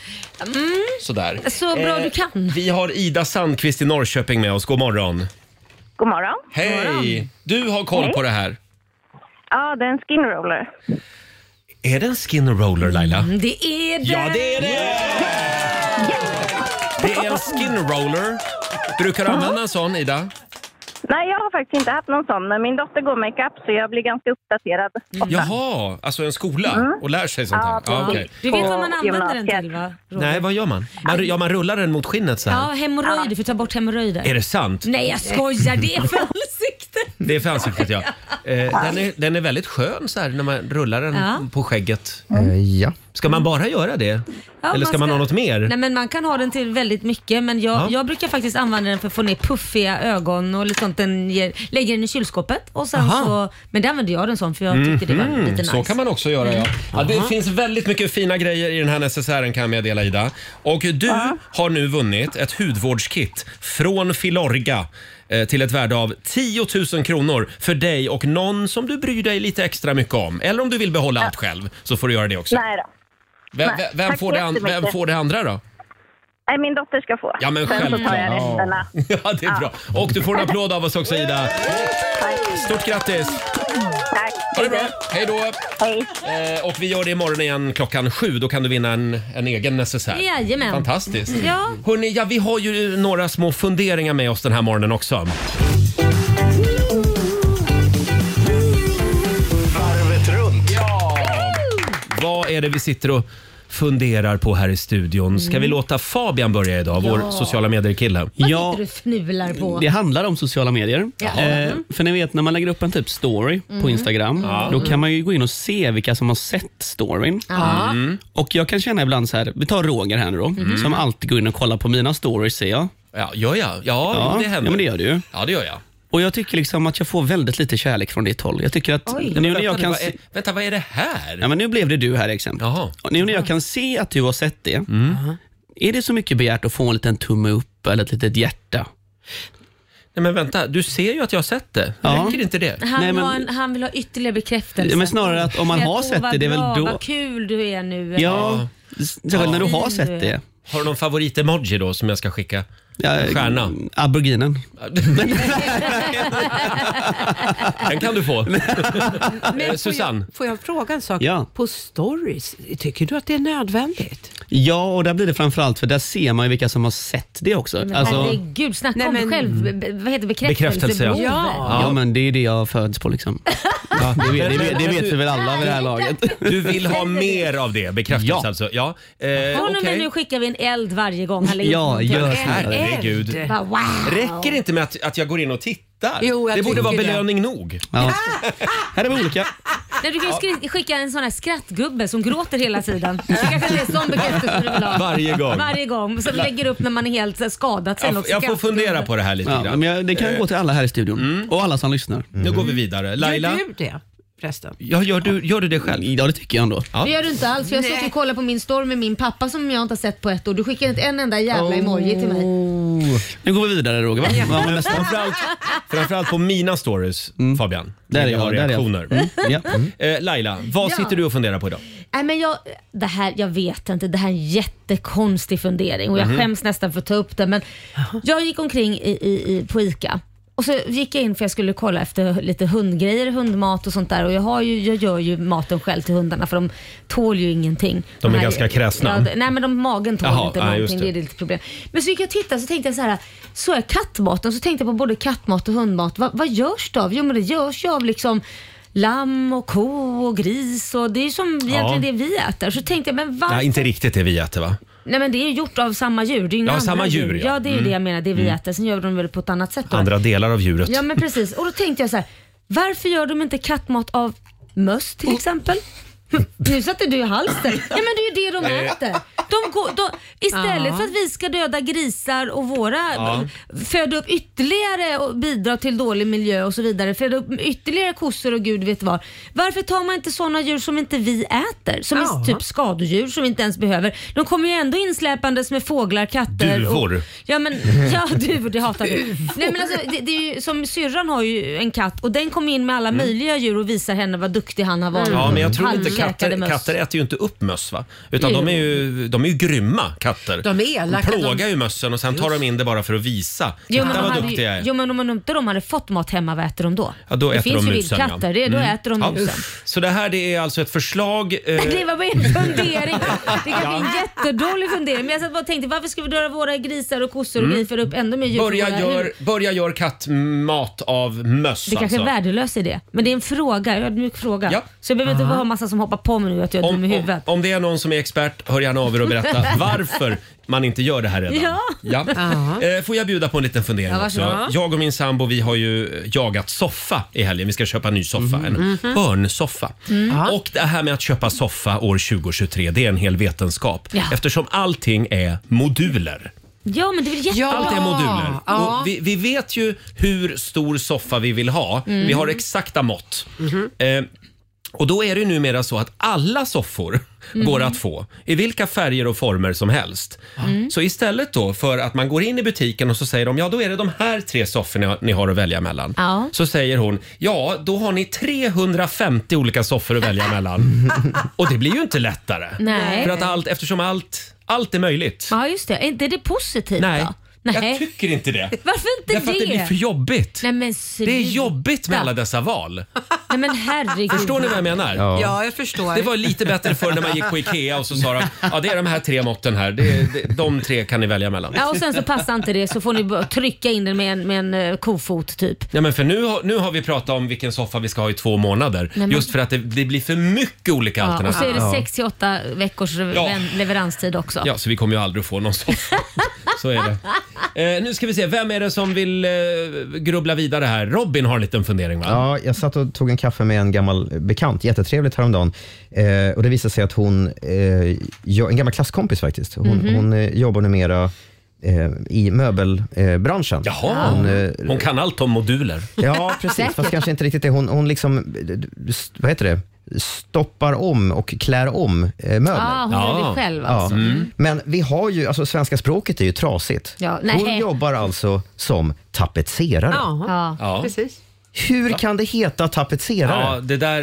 S1: Sådär.
S2: Så bra
S1: Eh,
S2: du kan.
S1: Vi har Ida Sandqvist i Norrköping med oss. God morgon.
S8: God morgon.
S1: Hej! Du har koll på det här.
S8: Ja, det är en skin roller.
S1: Är det en skin roller Laila?
S2: Mm, Det är det.
S1: Ja, det är det! Det är en skin roller. Brukar du använda en sån Ida?
S8: Nej, jag har faktiskt inte haft någon sån, men min dotter går makeup så jag blir ganska uppdaterad.
S1: Jaha, alltså en skola och lär sig sånt här.
S8: Ja,
S1: Ja, okej.
S2: Du vet vad man använder
S8: På
S2: den
S8: gymnasiet.
S2: till va? Roger?
S1: Nej, vad gör man? man? Ja, man rullar den mot skinnet så
S2: Ja,
S1: här.
S2: hemorrojder för att ta bort hemorrojder.
S1: Är det sant?
S2: Nej jag skojar, det är för ansikte.
S1: Det är för ansiktet ja. Eh, den, är, den är väldigt skön så här när man rullar den
S2: Ja.
S1: på skägget.
S3: Eh, ja.
S1: Ska man bara göra det?
S2: Ja,
S1: Eller ska man, ha något mer?
S2: Nej, men man kan ha den till väldigt mycket men jag,
S1: Ja.
S2: jag brukar faktiskt använda den för att få ner puffiga ögon och lite sånt. Den ger, lägger den i kylskåpet och sen
S1: Aha.
S2: så, men där använde jag den som för jag tyckte det var
S9: Mhm.
S2: lite nice.
S1: Så kan man också göra
S8: Mm.
S1: ja. ja det finns väldigt mycket fina grejer i den här necessären kan jag meddela Ida. Och du har nu vunnit ett hudvårdskit från Filorga eh, till ett värde av 10 000 kronor för dig och någon som du bryr dig lite extra mycket om. Eller om du vill behålla allt själv så får du göra det också.
S8: Nej då.
S1: Vem,
S8: nej.
S1: vem- vem,
S8: Tack
S1: får det an- vem
S8: jättemycket.
S1: får det andra då?
S8: Nej, min dotter ska få.
S1: Ja, men
S8: Sen så
S1: självklart.
S8: tar jag resten.
S1: Ja, det är bra. Och du får en applåd av oss också Ida. Stort grattis!
S8: Tack.
S1: Ha det bra! Hej då!
S8: Hej.
S1: Eh, och vi gör det imorgon igen klockan sju. Då kan du vinna en, en egen necessär.
S2: Jajamän.
S1: Fantastiskt.
S2: Ja.
S1: Hörrni, ja, vi har ju några små funderingar med oss den här morgonen också.
S4: Varvet runt. Ja!
S1: Vad är det vi sitter och funderar på här i studion? Ska vi låta Fabian börja idag, vår sociala medier-kille?
S2: Vad
S9: Ja.
S2: sitter du och fnular på?
S9: Det handlar om sociala medier. Eh, för ni vet när man lägger upp en typ story
S1: Mm.
S9: på Instagram, då kan man ju gå in och se vilka som har sett storyn.
S1: Mm.
S9: Och jag kan känna ibland så här, vi tar Roger här nu då, som alltid går in och kollar på mina stories ser jag.
S1: Ja, gör jag? Ja, det
S9: ja,
S1: händer.
S9: men det gör du ju.
S1: Ja, det gör jag.
S9: Och jag tycker liksom att jag får väldigt lite kärlek från ditt håll. Jag tycker att nu när jag
S1: vänta,
S9: kan
S1: vad
S9: se...
S1: är, vänta, vad är det här?
S9: Ja, men nu blev det du här exempel.
S1: Jaha.
S9: Och Nu när jag kan se att du har sett det, är det så mycket begärt att få en liten tumme upp eller ett litet hjärta?
S1: Nej, men vänta, du ser ju att jag har sett det.
S9: Ja.
S1: Räcker inte det?
S2: Han,
S9: Nej, men-
S2: vill ha en, han vill ha ytterligare bekräftelse.
S9: Ja, men snarare att om man har
S2: Åh,
S9: sett
S2: vad
S9: det, det är väl
S2: bra,
S9: då-
S2: Vad kul du är nu.
S9: Ja, särskilt när du har sett det.
S1: Har du någon favorit-emoji då som jag ska skicka?
S9: Ja,
S1: Stjärna.
S9: Aboriginen.
S1: Den kan du få.
S6: Men
S1: Eh,
S6: får
S1: Susanne?
S6: Jag, får jag fråga en sak?
S9: Ja.
S6: På stories, tycker du att det är nödvändigt?
S9: Ja, och där blir det framförallt för där ser man ju vilka som har sett det också. Alltså,
S2: Herregud, snacka
S6: Nej,
S2: om
S6: men-
S2: själv... be- Vad heter det?
S1: Bekräftelse, ja.
S2: bekräftelsebehov.
S6: Ja.
S9: ja, men det är det jag föds på liksom. Ja, det, vet, det, vet, det vet vi väl alla vid det här laget.
S1: Du vill ha mer av det, bekräftelse
S9: Ja.
S1: alltså? Ja. Eh,
S2: Från och
S1: okej.
S2: med nu skickar vi en eld varje gång han lägger
S9: Ja,
S2: upp någonting.
S9: gör så.
S1: Alltså, Herregud.
S6: Eld.
S2: Bara, wow.
S1: Räcker det inte med att, att jag går in och tittar?
S6: Jo, jag
S1: det borde
S6: tycker
S1: vara
S6: det.
S1: belöning nog.
S9: Ja. Här är vi olika.
S2: Nej, du kan ju skri- skicka en sån här skrattgubbe som gråter hela tiden. Det kanske inte är sån bekräftelse du vill ha.
S1: Varje gång.
S2: Varje gång. Som lägger upp när man är helt så här, skadad sen
S1: Jag,
S2: också.
S1: jag får fundera på det här lite
S9: Ja,
S1: grann.
S9: men jag, det kan gå till alla här i studion och alla som lyssnar.
S1: Nu går vi vidare. Laila?
S6: Gör du det förresten?
S1: Ja, gör, du, gör du det själv?
S9: Ja, det tycker jag ändå.
S2: Det gör du inte alls. För jag satt och kollade på min story med min pappa som jag inte har sett på ett år. Du skickar inte en enda jävla
S1: Oh.
S2: emoji till mig.
S9: Nu går vi vidare Roger, va? Ja, men nästa.
S1: Framförallt, framförallt på mina stories, Fabian.
S9: Där är
S1: vill ha
S9: jag, där är jag.
S1: reaktioner.
S9: Ja.
S1: Eh, Laila, vad
S2: Ja.
S1: sitter du och funderar på idag?
S2: Nej, men jag, det här, jag vet inte, det här är en jättekonstig fundering och
S1: Mhm.
S2: jag skäms nästan för att ta upp det. Men jag gick omkring i, i, i, på ICA och så gick jag in för jag skulle kolla efter lite hundgrejer, hundmat och sånt där. Och jag, har ju, jag gör ju maten själv till hundarna för de tål ju ingenting.
S1: De är
S2: här-
S1: ganska kräsna.
S2: Ja, d- nej men de, magen tål
S1: Jaha,
S2: inte
S1: nej, just
S2: någonting,
S1: det.
S2: det. är lite problem. Men så gick jag och tittade så tänkte jag så här, så är kattmaten, så tänkte jag på både kattmat och hundmat. Va, vad görs det av? Jo men det görs ju av liksom lamm och ko och gris och det är ju som egentligen det vi äter. Så tänkte jag, men varför?
S1: Nej, inte riktigt det vi äter va?
S2: Nej men det är ju gjort av samma djur. Det är ju inga
S1: Ja,
S2: andra
S1: samma djur, ja. Mm.
S2: ja. det är ju det jag menar, det vi äter. Sen gör de väl på ett annat sätt då.
S1: Andra delar av djuret.
S2: Ja men precis. Och då tänkte jag så här, varför gör de inte kattmat av möss till exempel? Nu satte du i halsen. Ja men det är ju det de äter. De går, de, istället för att vi ska döda grisar och våra föda upp ytterligare och bidra till dålig miljö och så vidare. Föda upp ytterligare kossor och gud vet vad. Varför tar man inte sådana djur som inte vi äter? Som
S6: Ja.
S2: är typ skadedjur som vi inte ens behöver. De kommer ju ändå insläpandes med fåglar, katter
S1: Duvor.
S2: Och, Ja men ja, duvor, det hatar du. Nej, men alltså, det, det är ju, som syrran har ju en katt och den kom in med alla möjliga djur och visar henne vad duktig han har varit.
S1: Mm. Ja, men jag tror inte
S2: Halvkäkade
S1: katter,
S2: möss.
S1: katter äter ju inte upp möss va? Utan de är ju, de är ju grymma katter.
S6: De är elaka,
S1: De plågar
S6: de-
S1: ju mössen och sen tar de in det bara för att visa.
S2: Jo men,
S1: Titta
S2: de
S1: vad
S2: hade,
S1: duktig jag
S2: ju-
S1: är.
S2: jo men om inte de hade fått mat hemma, vad äter de då?
S1: Ja, då
S2: det
S1: äter
S2: finns
S1: de
S2: ju
S1: musen, ja.
S2: vildkatter, det, då äter de
S1: Ja.
S2: musen.
S1: Så det här det är alltså ett förslag. Eh,
S2: Det var bara en fundering. Det kanske är en jättedålig fundering. Men jag satt bara och tänkte varför ska vi döda våra grisar och kossor och grejer för upp ändå mer djur? för
S1: Mm. börja,
S2: våra
S1: gör,
S2: djur?
S1: börja gör kattmat av möss
S2: Det kanske är
S1: alltså.
S2: en värdelös idé. Men det är en fråga, en ödmjuk fråga.
S1: Ja.
S2: Så jag behöver inte ha massa som hoppar på mig nu att jag är dum i
S1: Om, om,
S2: huvudet.
S1: om det är någon som är expert, hör gärna av er och berätta varför man inte gör det här redan.
S2: Ja.
S6: Ja.
S1: Eh, Får jag bjuda på en liten fundering
S2: Ja, varsågod.
S1: också? Jag och min sambo vi har ju jagat soffa i helgen. Vi ska köpa en ny soffa,
S2: Mhm.
S1: en hörnsoffa.
S2: Mm.
S1: Och det här med att köpa soffa år 2023, det är en hel vetenskap.
S2: Ja.
S1: Eftersom allting är moduler.
S2: Ja, men det är väl jätte...
S6: Ja.
S1: Allt är moduler.
S6: Ja.
S1: Och vi, vi vet ju hur stor soffa vi vill ha. Vi har exakta mått. Eh, och då är det ju numera så att alla soffor går att få i vilka färger och former som helst. Så istället då för att man går in i butiken och så säger de ja då är det de här tre sofforna ni har att välja mellan.
S2: Ja.
S1: Så säger hon ja då har ni 350 olika soffor att välja mellan. och det blir ju inte lättare.
S2: Nej.
S1: För att allt, eftersom allt, allt är möjligt.
S2: Ja, just det. Är inte det positivt
S1: Nej.
S2: då?
S1: jag
S2: Nej.
S1: tycker inte det.
S2: Varför inte
S1: Därför att det blir för jobbigt.
S2: Nej, men
S1: det är
S2: sluta.
S1: jobbigt med alla dessa val.
S2: Nej men herregud.
S1: Förstår ni vad jag menar?
S6: Ja, jag förstår.
S1: Det var lite bättre förr när man gick på IKEA och så sa de ja det är de här tre måtten här. Det, det, de tre kan ni välja mellan.
S2: Ja, och sen så passar inte det så får ni bara trycka in den med en, med en eh, kofot typ.
S1: Ja, men för nu, har- nu har vi pratat om vilken soffa vi ska ha i två månader.
S2: men-
S1: Just för att det, det blir för mycket olika
S2: Ja, och så är
S1: alternativ.
S2: det 6 till 8 veckors lever- leveranstid också.
S1: Ja, så vi kommer ju aldrig att få någon soffa. Så är det. Eh, nu ska vi se, vem är det som vill eh, grubbla vidare här? Robin har en liten fundering va?
S3: Ja, jag satt och tog en kaffe med en gammal bekant, jättetrevligt häromdagen. Eh, och det visade sig att hon, eh, jo- en gammal klasskompis faktiskt, hon,
S2: Mhm.
S3: hon eh, jobbar numera eh, i möbelbranschen. Eh, branschen.
S1: Jaha,
S3: Hon, eh,
S1: hon kan allt om moduler.
S3: Ja, precis. Fast kanske inte riktigt det. Hon, hon liksom, vad heter det, stoppar om och klär om eh, möbler.
S2: ah, hon
S1: Ja. Mm.
S2: gör det själv
S3: Ja. Mm.
S2: alltså.
S3: Men vi har ju, alltså svenska språket är ju trasigt.
S2: Ja, nej.
S3: hon jobbar alltså som tapetserare.
S6: Ja,
S2: Ja.
S1: Ja.
S6: precis.
S3: Hur kan det heta tapetserare?
S1: Ja, det där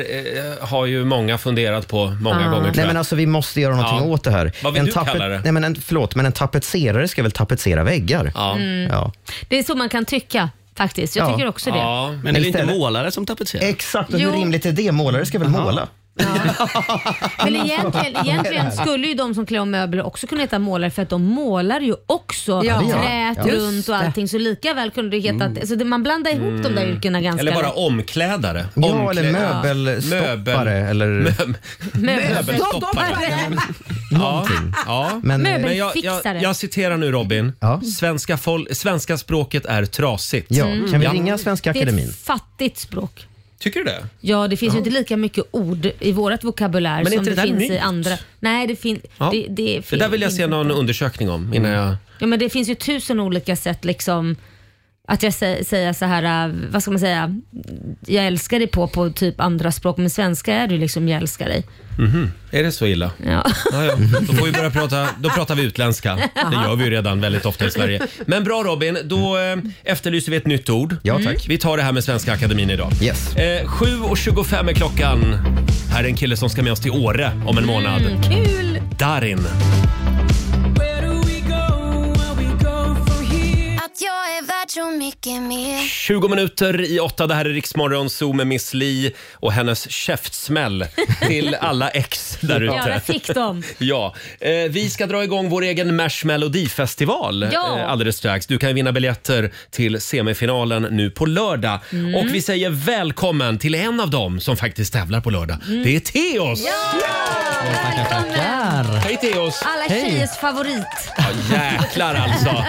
S1: eh, har ju många funderat på många gånger tror
S3: Nej
S1: jag.
S3: men alltså vi måste göra någonting
S1: Ja.
S3: åt det här.
S1: Vad vill
S3: en
S1: du kalla det?
S3: Nej, men en, förlåt, men en tapetserare ska väl tapetsera väggar? Mm.
S1: ja.
S10: Mm.
S3: Ja.
S2: Det är så man kan tycka faktiskt. Jag
S3: Ja.
S2: tycker också det.
S1: Ja.
S9: Men är det inte
S3: Istället-
S9: målare som tapetserar?
S3: Exakt, och
S2: Jo.
S3: hur rimligt är det? Målare ska väl måla?
S2: Men egentligen, egentligen skulle ju de som klär om möbler också kunna heta målare för att de målar ju också
S6: Ja, det gör de.
S2: trät
S6: Ja.
S2: runt
S6: Just
S2: och
S6: det.
S2: allting. Så lika väl kunde det heta att alltså, det- man blandar ihop de där yrkena ganska
S1: Mm. Eller bara
S2: lätt.
S1: omklädare.
S3: Ja, eller
S1: Omklä-
S3: möbelstoppare eller
S1: Möbel-
S2: Möbel.
S1: Möbelstoppare.
S6: Mm.
S1: Ja. ja.
S3: men, eh,
S2: Möbel.
S1: Men jag, jag,
S2: Fixare.
S1: jag citerar nu Robin.
S3: Ja.
S1: Svenska, fol- svenska språket är trasigt.
S3: Ja,
S2: Mm.
S3: kan vi ringa Svenska
S2: Det är
S3: Akademin?
S2: ett fattigt språk.
S1: Tycker du det?
S2: Ja, det finns ju inte lika mycket ord i vårt vokabulär
S1: Men är
S2: som
S1: inte
S2: det,
S1: det där
S2: finns i
S1: myt?
S2: andra. Nej, det, fin-
S1: Ja.
S2: det, det är
S1: Det
S2: fel.
S1: där vill jag se någon undersökning om innan jag...
S3: Mm.
S2: Ja, men det finns ju tusen olika sätt liksom att jag sä- säger så här, äh, vad ska man säga, jag älskar dig på, på typ andra språk, men svenska är du liksom, jag älskar dig.
S1: Är det så illa?
S2: Ja.
S1: Ja, ja. Mm. Då får vi börja prata, då pratar vi utländska. Det gör vi ju redan väldigt ofta i Sverige. Men bra Robin, då eh, efterlyser vi ett nytt ord.
S3: Ja, tack. Mm.
S1: Vi tar det här med Svenska Akademin idag.
S3: Yes.
S1: Eh, 7.25 är klockan. Här är en kille som ska med oss till Åre om en månad.
S2: Mm, Kul!
S1: Darin.
S7: Att jag är värd så mycket mer
S1: 20 minuter i åtta. Det här är Riksmorgon Zoo med Miss Li och hennes käftsmäll till alla ex där
S2: Ja, där
S1: ute.
S2: fick de.
S1: Ja, eh, vi ska dra igång vår egen Marshmelodifestival
S2: Ja.
S1: eh, alldeles strax. Du kan vinna biljetter till semifinalen nu på lördag. Och vi säger välkommen till en av dem som faktiskt tävlar på lördag. Det är Theos!
S2: Välkommen!
S1: Hej Theos!
S2: Alla tjejers favorit.
S1: Ja, jäklar alltså!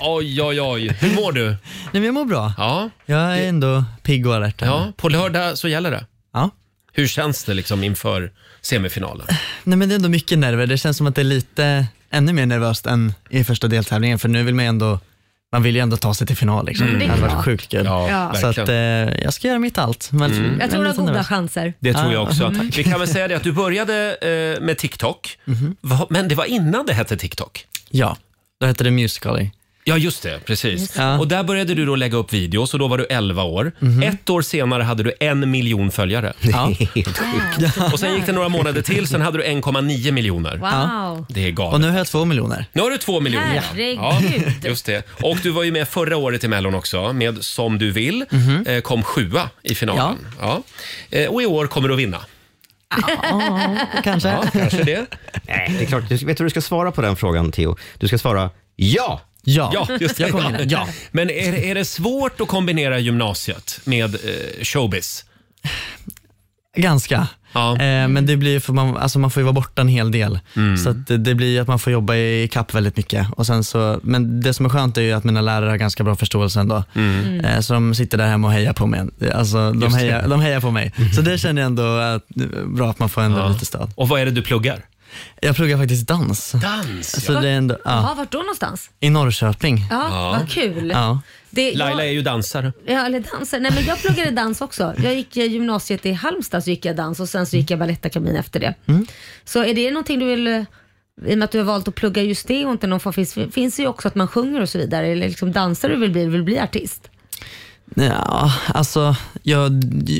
S1: Oj, oj, oj. Hur mår du?
S10: Nej, men jag mår bra.
S1: Ja,
S10: Jag är ändå pigg och alert.
S1: ja, på lördag så gäller det.
S10: Ja.
S1: Hur känns det liksom inför semifinalen?
S10: Nej, men det är ändå mycket nerver. Det känns som att det är lite ännu mer nervöst än i första deltävlingen, för nu vill man ju ändå, man vill ju ändå ta sig till final. Liksom.
S2: Mm,
S10: Det hade varit sjukt kul.
S1: Ja,
S10: Så att, eh,
S1: verkligen.
S10: jag ska göra mitt allt. Men,
S3: Mm.
S2: Jag tror
S10: men
S2: du har
S10: lite
S2: goda
S10: nervös.
S2: chanser.
S1: Det tror
S10: Ah,
S1: jag också. Vi kan väl säga det att du började eh, med TikTok,
S10: Mhm.
S1: Va- men det var innan det hette TikTok.
S10: Ja, då heter det Musical.ly.
S1: Ja, just det. Precis.
S10: Ja. Mhm.
S1: Och där började du då lägga upp videos och då var du 11 år. Ett år senare hade du en miljon följare.
S10: Ja.
S1: Och sen gick det några månader till, sen hade du 1,9 miljoner.
S2: Wow.
S1: Det är
S10: Och
S1: galet.
S10: nu har jag två miljoner.
S1: Nu har du två miljoner.
S2: Herregud.
S1: just det. Och du var ju med förra året i Mellon också med Som du vill.
S10: Mhm.
S1: Eh, Kom sjua i finalen. Ja. Eh, Och i år kommer du att vinna.
S10: Kanske.
S1: Ja, kanske det.
S3: Nej, det är klart. Du, vet du hur du ska svara på den frågan, Theo? Du ska svara ja.
S10: Ja.
S1: Ja, just det.
S10: Jag kommer
S1: Ja.
S10: in. Ja.
S1: Men är, det- är det svårt att kombinera gymnasiet med eh, showbiz?
S10: Ganska. Eh, men det blir, ju- för man, alltså man får ju vara borta en hel del.
S11: Mm.
S10: Så att det, det blir ju att man får jobba i kapp väldigt mycket. Och sen så, men det som är skönt är ju att mina lärare har ganska bra förståelse ändå.
S11: Mm.
S10: Eh, så de sitter där hemma och hejar på mig. Alltså, de,
S1: Just det.
S10: hejar, de hejar på mig. Så det känner jag ändå att, bra att man får ändå
S1: Ja.
S10: lite stöd.
S1: Och vad är det du pluggar?
S10: Jag pluggar faktiskt dans.
S1: Dans?
S10: Så det är ändå,
S2: Ja,
S10: ja.
S2: vart då någonstans?
S10: I Norrköping.
S2: Ja, vad kul.
S10: Ja.
S2: Det,
S1: Laila är ju dansare.
S2: Ja, eller dansare. Nej, men jag pluggade dans också. Jag gick i gymnasiet i Halmstad så gick jag dans och sen så gick jag Balettakademin efter det. Så är det någonting du vill, eh, i och med att du har valt att plugga just det och inte någon form, finns, finns det ju också att man sjunger och så vidare. Eller liksom dansare du vill bli, du vill bli artist.
S10: Ja, alltså jag,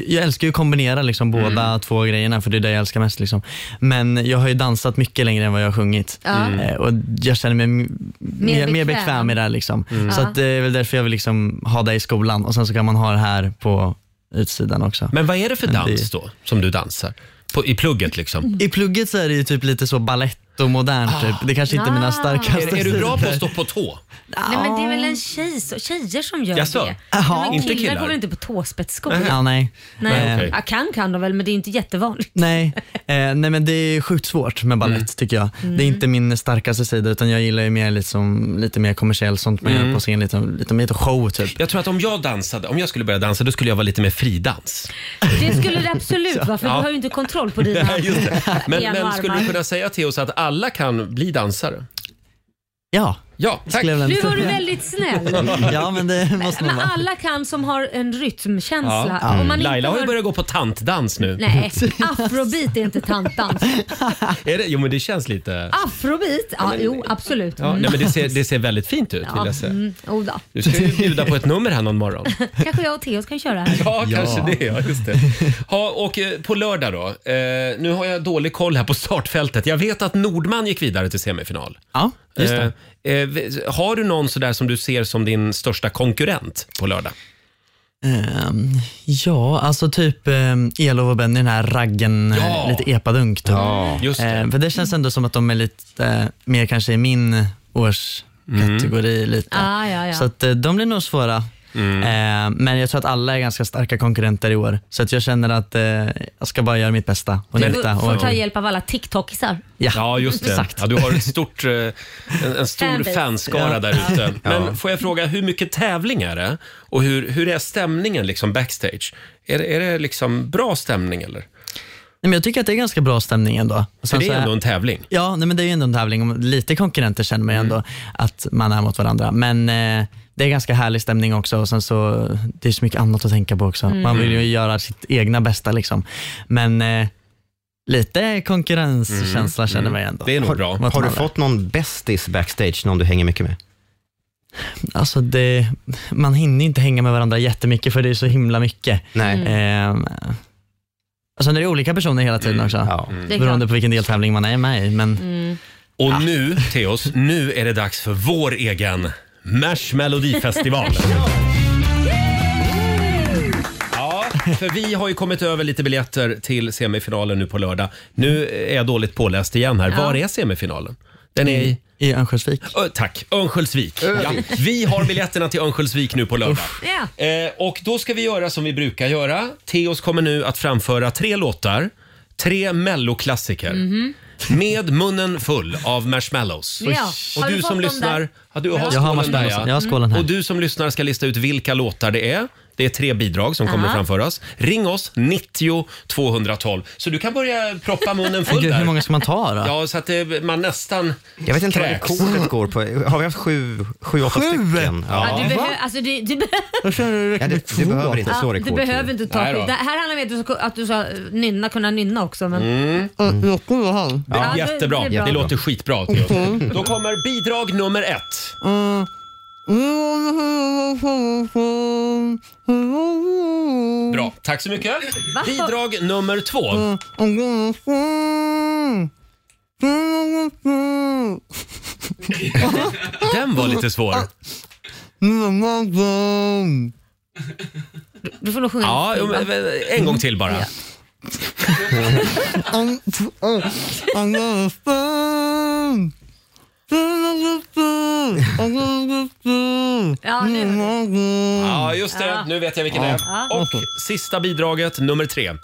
S10: jag älskar ju att kombinera liksom
S3: Mm.
S10: båda två grejerna för det är det jag älskar mest. Liksom. Men jag har ju dansat mycket längre än vad jag har sjungit
S11: Ja. Mm.
S10: Eh, och jag känner mig m- mer, mer,
S11: bekväm.
S10: bekväm i det. här, Liksom.
S11: Mm.
S10: Så
S11: Ja.
S10: att, det är väl därför jag vill liksom ha det i skolan och sen så kan man ha det här på utsidan också.
S1: Men vad är det för
S10: Men Mm, det-
S1: dans då som du dansar? På, I plugget liksom? Ah,
S10: I plugget så är det ju typ lite så ballett och modernt. Typ. Det kanske inte är
S2: Ah.
S10: mina starkaste
S1: Är, är du bra på
S10: sidor.
S1: att stå på tå?
S2: Nej men det är väl en tjej, så- tjejer som gör
S1: Jaså?
S2: det.
S10: Jaha.
S2: Nej, men
S10: Inte
S2: killar,
S10: killar?
S2: går väl inte på tåspetsskor?
S10: Ja, nej.
S2: Nej.
S10: Eh,
S2: Ja, kan kan de väl men det är inte jättevanligt.
S10: Nej, eh, nej men det är sjukt svårt med ballett tycker jag. Det är inte min starkaste sida utan jag gillar ju mer liksom, lite mer kommersiellt sånt man
S1: Mm.
S10: gör på scen, lite, lite, lite show typ.
S1: Jag tror att om jag dansade, om jag skulle börja dansa, då skulle jag vara lite mer fridans.
S2: Det skulle det absolut vara för
S1: Ja.
S2: du har ju inte kontroll på dina
S1: Nej, just det. Men,
S2: ben och
S1: men skulle du
S2: armar.
S1: kunna säga till oss att alla kan bli dansare?
S10: Ja.
S1: Ja, tack.
S2: Nu var du väldigt snäll.
S1: Ja,
S10: men det måste
S2: Men alla kan som har en rytmkänsla. Om man inte
S1: Mm. Laila har ju
S2: har-
S1: börjat gå på tantdans nu.
S2: Nej, afrobeat är inte tantdans.
S1: Är det, jo, men det känns lite...
S2: Afrobeat? Ja, jo, absolut.
S1: Ja, nej, men det, ser, det ser väldigt fint ut vill jag säga.
S2: mm, oh då.
S1: Du ska ju bjuda på ett nummer här någon morgon.
S2: Kanske jag och Theo kan köra här.
S1: Ja, kanske det. Ja, just det. Ja, och eh, på lördag då. Eh, nu har jag dålig koll här på startfältet. Jag vet att Nordman gick vidare till semifinal.
S10: Ja, just det.
S1: Eh, eh, v- har du någon sådär som du ser som din största konkurrent på lördag?
S10: Ehm, ja, alltså typ um, Elov och Benny, den här raggen, eh,
S1: Ja.
S10: lite epadunk. Typ.
S1: Ja, just det.
S10: Ehm, för det känns ändå som att de är lite eh, mer kanske i min årskategori. Lite.
S2: Ah, ja, ja.
S10: Så att, eh, de blir nog svåra. Ehm, men jag tror att alla är ganska starka konkurrenter i år. Så att jag känner att eh, jag ska bara göra mitt bästa och
S2: Du
S10: njuta.
S2: får
S10: Och,
S2: ta hjälp av alla TikTokisar.
S10: Ja.
S1: just det.
S10: Exakt.
S1: Ja, du har ett stort, eh, en, en stor
S2: Fanbase.
S1: fanskara
S2: Ja.
S1: där ute.
S2: Ja.
S1: Men får jag fråga, hur mycket tävling är det? Och hur, hur är stämningen liksom backstage? Är, det- är det liksom bra stämning eller?
S10: Nej, men jag tycker att det är ganska bra stämning ändå. Och
S1: För
S10: sen
S1: det
S10: så
S1: är
S10: är-
S1: ändå en tävling.
S10: Ja, nej, men det är ju ändå en tävling. och Lite konkurrenter känner man ju ändå att man är mot varandra. Men eh, det är ganska härlig stämning också och sen så, det är så mycket annat att tänka på också.
S11: Mm.
S10: Man vill ju göra sitt egna bästa liksom. Men eh, lite konkurrenskänsla
S3: Mm.
S10: känner man ju
S3: Mm.
S10: ändå.
S3: Det är nog
S10: Har-
S3: bra.
S10: vad
S3: Har du
S10: man är.
S3: fått någon bästis backstage, någon du hänger mycket med?
S10: Alltså det, man hinner inte hänga med varandra jättemycket för det är så himla mycket.
S3: Nej.
S10: Eh, alltså det är olika personer hela tiden också.
S1: Mm. Det är
S10: Beroende
S1: klart.
S10: på vilken deltävling man är med i. Men,
S1: Och nu, Theos, nu är det dags för vår egen Mash Melodifestival. Ja, för vi har ju kommit över lite biljetter till semifinalen nu på lördag. Nu är jag dåligt påläst igen här.
S10: Ja.
S1: Var är semifinalen? Den är i...
S3: Mm.
S10: I Örnsköldsvik.
S1: Ö, tack, Örnsköldsvik. Ja, vi har biljetterna till Örnsköldsvik nu på lördag. Eh, och då ska vi göra som vi brukar göra. Theos kommer nu att framföra tre låtar, tre melloklassiker.
S11: Mhm.
S1: Med munnen full av marshmallows.
S11: Ja.
S1: Och
S11: Har
S1: du
S11: du
S1: som
S11: fått dem
S1: lyssnar...
S11: där?
S1: Ja, du har
S10: Jag har
S1: skålen där
S10: marshmallows. Jag har skålen här.
S1: Och du som lyssnar ska lista ut vilka låtar det är. Det är tre bidrag som kommer
S10: Aha.
S1: framföras. Ring oss, 90 212. Så du kan börja proppa munnen full
S10: Gud,
S1: där.
S10: hur många ska man ta då?
S1: Ja, så att det, man nästan
S3: Jag vet inte vad
S1: kräks.
S3: rekordet går på. Har vi haft sju, sju åtta stycken?
S2: Ja. du behöver, alltså, du, du, be-
S10: Då kör du
S3: Ja, det- du behöver inte så
S2: ja,
S3: rekord.
S2: du behöver inte ta
S3: Nej då.
S2: skit. Det här handlar om att du ska, att du ska eh, nynna, kunna nynna också. Men...
S1: Mm.
S2: Ja, det- det
S1: Jättebra. Det,
S2: är bra. Mm.
S1: låter skitbra. Theo.
S11: Okej.
S1: Då kommer bidrag nummer ett. Bra. Tack så mycket. Bidrag nummer två. Den var lite svår.
S2: Du får nog sjunga
S1: Ja, eh,
S2: lite till, va?
S1: en gång till bara.
S2: Ja, nu.
S1: Ja, just det. Nu vet jag vilken det är.
S2: Ja.
S1: Och sista bidraget, nummer tre.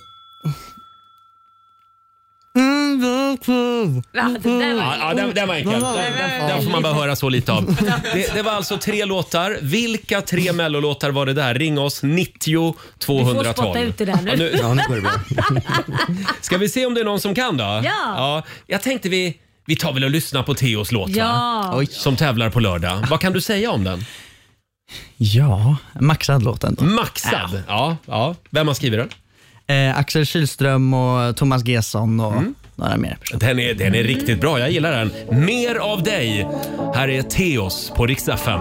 S1: Ja,
S7: det där var-
S1: Mm. ja, den, den var enkel. Den, den, den får man bara höra så lite av. Det, det var alltså tre låtar. Vilka tre mellolåtar var det där? Ring oss 90
S2: Du
S1: 212.
S2: får spotta ut det där nu.
S1: Ja, nu går det bra. Ska vi se om det är någon som kan då?
S2: Ja.
S1: jag tänkte vi, vi tar väl och lyssnar på Theos låt va?
S2: Ja. Oj.
S1: som tävlar på lördag. Vad kan du säga om den?
S10: Ja, maxad låt
S3: Mm.
S10: ändå.
S1: Maxad? Ja. ja. Vem har skrivit den?
S10: Eh, Axel Kylström och Thomas Gesson och
S3: Mm.
S10: några mer.
S1: Den är, den är riktigt bra, jag gillar den. Mer av dig. Här är Theos på riksdag 5.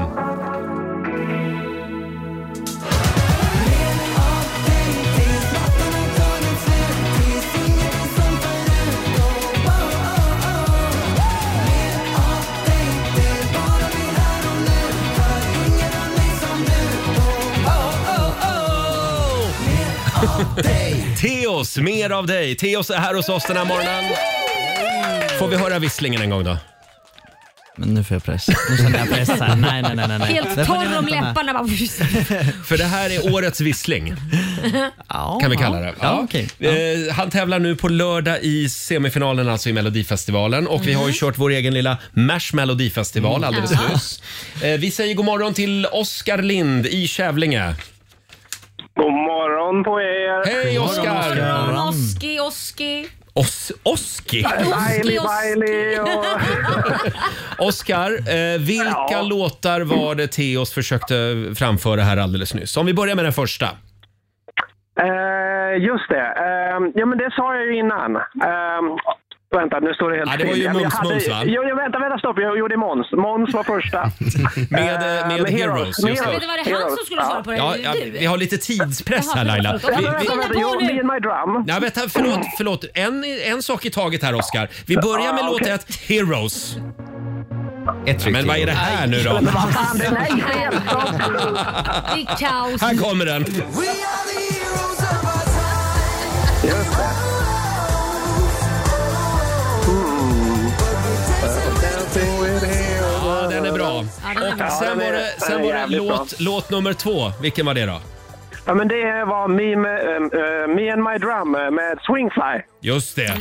S1: Theos, mer av dig. Theos är här hos oss den här morgonen. Får vi höra visslingen en gång då?
S10: Men nu får jag press. Nu känner jag press här. Nej, nej, nej. nej, nej.
S2: Helt
S10: Det får
S2: torr
S10: ni
S2: om
S10: vänta med.
S2: läpparna. Bara,
S1: För det här är årets vissling, kan vi kalla det.
S10: Ja, okej.
S1: Eh, Han tävlar nu på lördag i semifinalen alltså i Melodifestivalen och vi har
S10: Mm.
S1: ju kört vår egen lilla Mash Melodifestival alldeles
S2: Ja.
S1: nyss. Eh, Vi säger god morgon till Oskar Lind i Kävlinge.
S5: God morgon på er!
S1: Hej Oskar!
S2: Oski, Oski.
S1: Os Oski?
S5: Bailey, Bailey och...
S1: Oskar, eh, vilka låtar var det Theos försökte framföra här alldeles nyss? Om vi börjar med den första.
S5: Eh, just det. Eh, ja, men det sa jag ju innan. Eh, vänta, nu står det helt
S1: Ja, det var
S5: still.
S1: ju
S5: Ja, men jag
S1: Mums
S5: hade-
S1: Mums, va?
S5: Jo, jo, vänta, vänta, stopp. Jag gjorde Måns. Måns var första.
S1: Med, eh,
S5: Eh,
S1: med Heroes.
S5: med
S1: just
S5: Heroes.
S2: Det var det han som skulle
S5: Ja.
S2: svara på det.
S1: Ja,
S2: eller
S1: ja,
S2: du?
S1: vi har lite tidspress här
S2: Jaha,
S1: Laila.
S2: förlåt,
S1: Vi,
S2: okej.
S1: vi,
S5: Vänta, vänta, jo,
S2: nu.
S5: me and my drum.
S1: nej, vänta, förlåt, förlåt. En, en sak i taget här Oscar. Vi börjar med
S5: Ja,
S1: låt
S5: okej.
S1: ett, Heroes.
S3: Ett
S1: Ja,
S3: tryck
S1: men vad är det här nu då?
S5: Fan, det- nej, fel! Stopp.
S2: Det är kaos.
S1: Här kommer den.
S5: Just det.
S1: Ja, den är bra. Och sen var det, sen var det låt, låt nummer två. Vilken var det då?
S5: Ja, men det var Me, med, eh, eh, me and my drum eh, med Swingfly.
S1: Just det.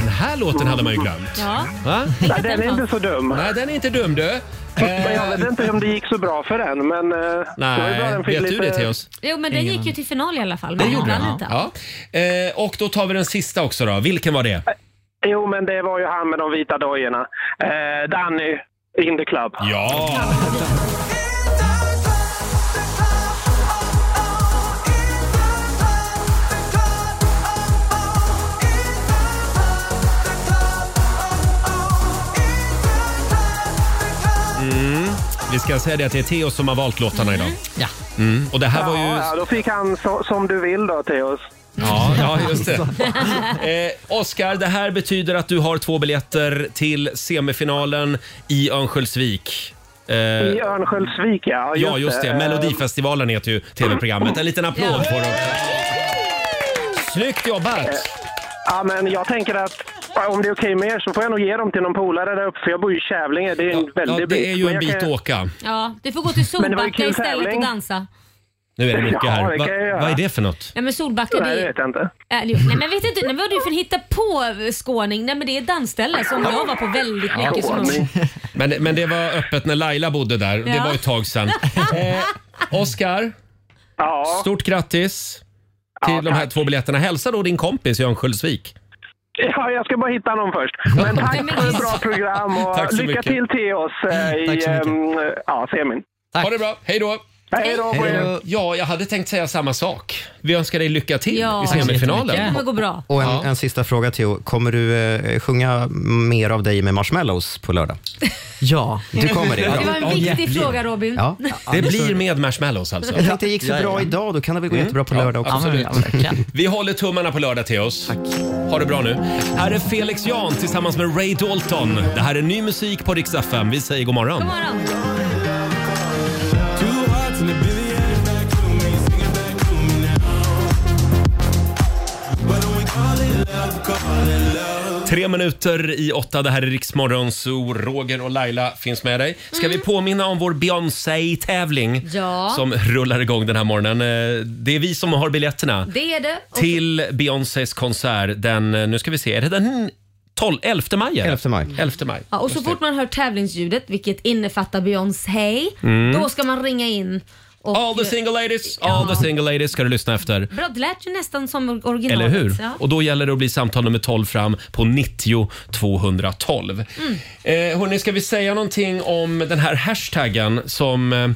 S1: Den här låten hade man ju glömt.
S2: Ja.
S1: Va?
S5: Ja, den är inte så dum.
S1: Nej, den är inte dum du. Eh,
S5: Men jag vet inte om det gick så bra för den, men... eh, det var ju bra
S1: Nej,
S5: den fick
S1: vet du
S5: lite-
S1: det Theoz?
S2: Jo, men den gick ju till final i alla fall.
S1: Det
S2: men
S1: gjorde
S2: vann
S1: den.
S2: inte.
S1: Ja. Eh, Och då tar vi den sista också då. Vilken var det?
S5: Jo, men det var ju han med de vita dojorna. Eh, Danny in the club.
S1: Ja! Mm. Vi ska säga det att det är Theo som har valt låtarna idag.
S10: Ja.
S1: Mm. Och det här var
S5: Ja,
S1: ju...
S5: ja, då fick han så, som du vill då, Theoz.
S1: Ja, ja just det. Eh, Oskar, det här betyder att du har två biljetter till semifinalen i Örnsköldsvik. Eh,
S5: I Örnsköldsvik, ja.
S1: ja, just det.
S5: Eh,
S1: Melodifestivalen heter ju tv-programmet. En liten applåd får du. Snyggt
S5: Eh,
S1: jobbat!
S5: Ja, men jag tänker att ja, om det är okej med er så får jag nog ge dem till någon polare där uppe, för jag bor ju i Kävlinge. Det är en väldig
S1: Ja, det är ju
S5: Men
S1: en
S5: jag
S1: bit
S5: kan-
S1: att åka.
S2: Ja, du får gå till
S5: Men det var
S2: Solbacka
S5: ju kul
S2: istället och
S5: tävling.
S2: dansa.
S1: Nu är det mycket
S5: Ja,
S1: här.
S5: det kan jag
S1: Va,
S5: göra.
S1: vad är det för något?
S2: Nej men Solbacka
S5: Nej,
S2: det
S5: det
S2: är...
S5: vet jag inte.
S2: Äh, jo, nej men vet inte, nej, vad är du för hitta på skåning? Nej men det är ett dansställe som jag var på väldigt mycket som ung.
S1: Men, men det var öppet när Laila bodde där. Det
S2: Ja.
S1: var ett tag sedan. Eh, Oskar,
S5: Ja,
S1: stort grattis till de här två biljetterna. Hälsa då din kompis i Örnsköldsvik.
S5: ja, jag ska bara hitta någon först. Men tack
S2: men-
S5: för ett bra program och
S1: Tack så
S5: lycka
S1: mycket.
S5: till Theoz eh,
S10: Tack
S5: i
S10: så mycket.
S5: ehm, ja, semin.
S1: Ha det bra, hej då!
S5: Hej då på er!
S1: Ja, jag hade tänkt säga samma sak. Vi önskar dig lycka till
S2: Ja.
S1: i
S2: Det
S1: semifinalen.
S2: kommer gå bra.
S3: Och en,
S1: Ja.
S3: en sista fråga Theo. Kommer du eh, sjunga mer av dig med Marshmallows på lördag?
S10: Ja.
S3: Du kommer det? Ja.
S2: Det var en viktig fråga Robin.
S3: Ja.
S1: Det blir med marshmallows alltså.
S3: Jag tänkte det gick så bra idag, då kan det väl gå jättebra på lördag också.
S1: absolut.
S10: Ja, men verkligen.
S1: Vi håller tummarna på lördag till oss. Ha det bra nu. Här är Felix Jan tillsammans med Ray Dalton. Det här är ny musik på Rix FM. Vi säger god morgon.
S2: God morgon.
S1: Tre minuter i åtta, det här är Riksmorgon, så Roger och Laila finns med dig. Ska vi påminna om vår Beyoncé-tävling
S2: Mm. Ja.
S1: som rullar igång den här morgonen? Eh, Det är vi som har biljetterna
S2: Det är det. Och-
S1: till Beyoncés konsert den, eh, nu ska vi se, är det den 12, 11 maj? 11
S3: maj.
S1: 11 maj.
S2: Ja, och så fort man hör tävlingsljudet, vilket innefattar Beyoncé,
S1: Mm.
S2: då ska man ringa in. Och,
S1: All the single ladies, all the single ladies ska du lyssna efter.
S2: Bra, det lät ju nästan som originalet.
S1: Eller hur?
S2: Ja.
S1: Och då gäller det att bli samtal nummer 12 fram på 90 212. Mm. Eh, hörni, ska vi säga någonting om den här hashtaggen som eh,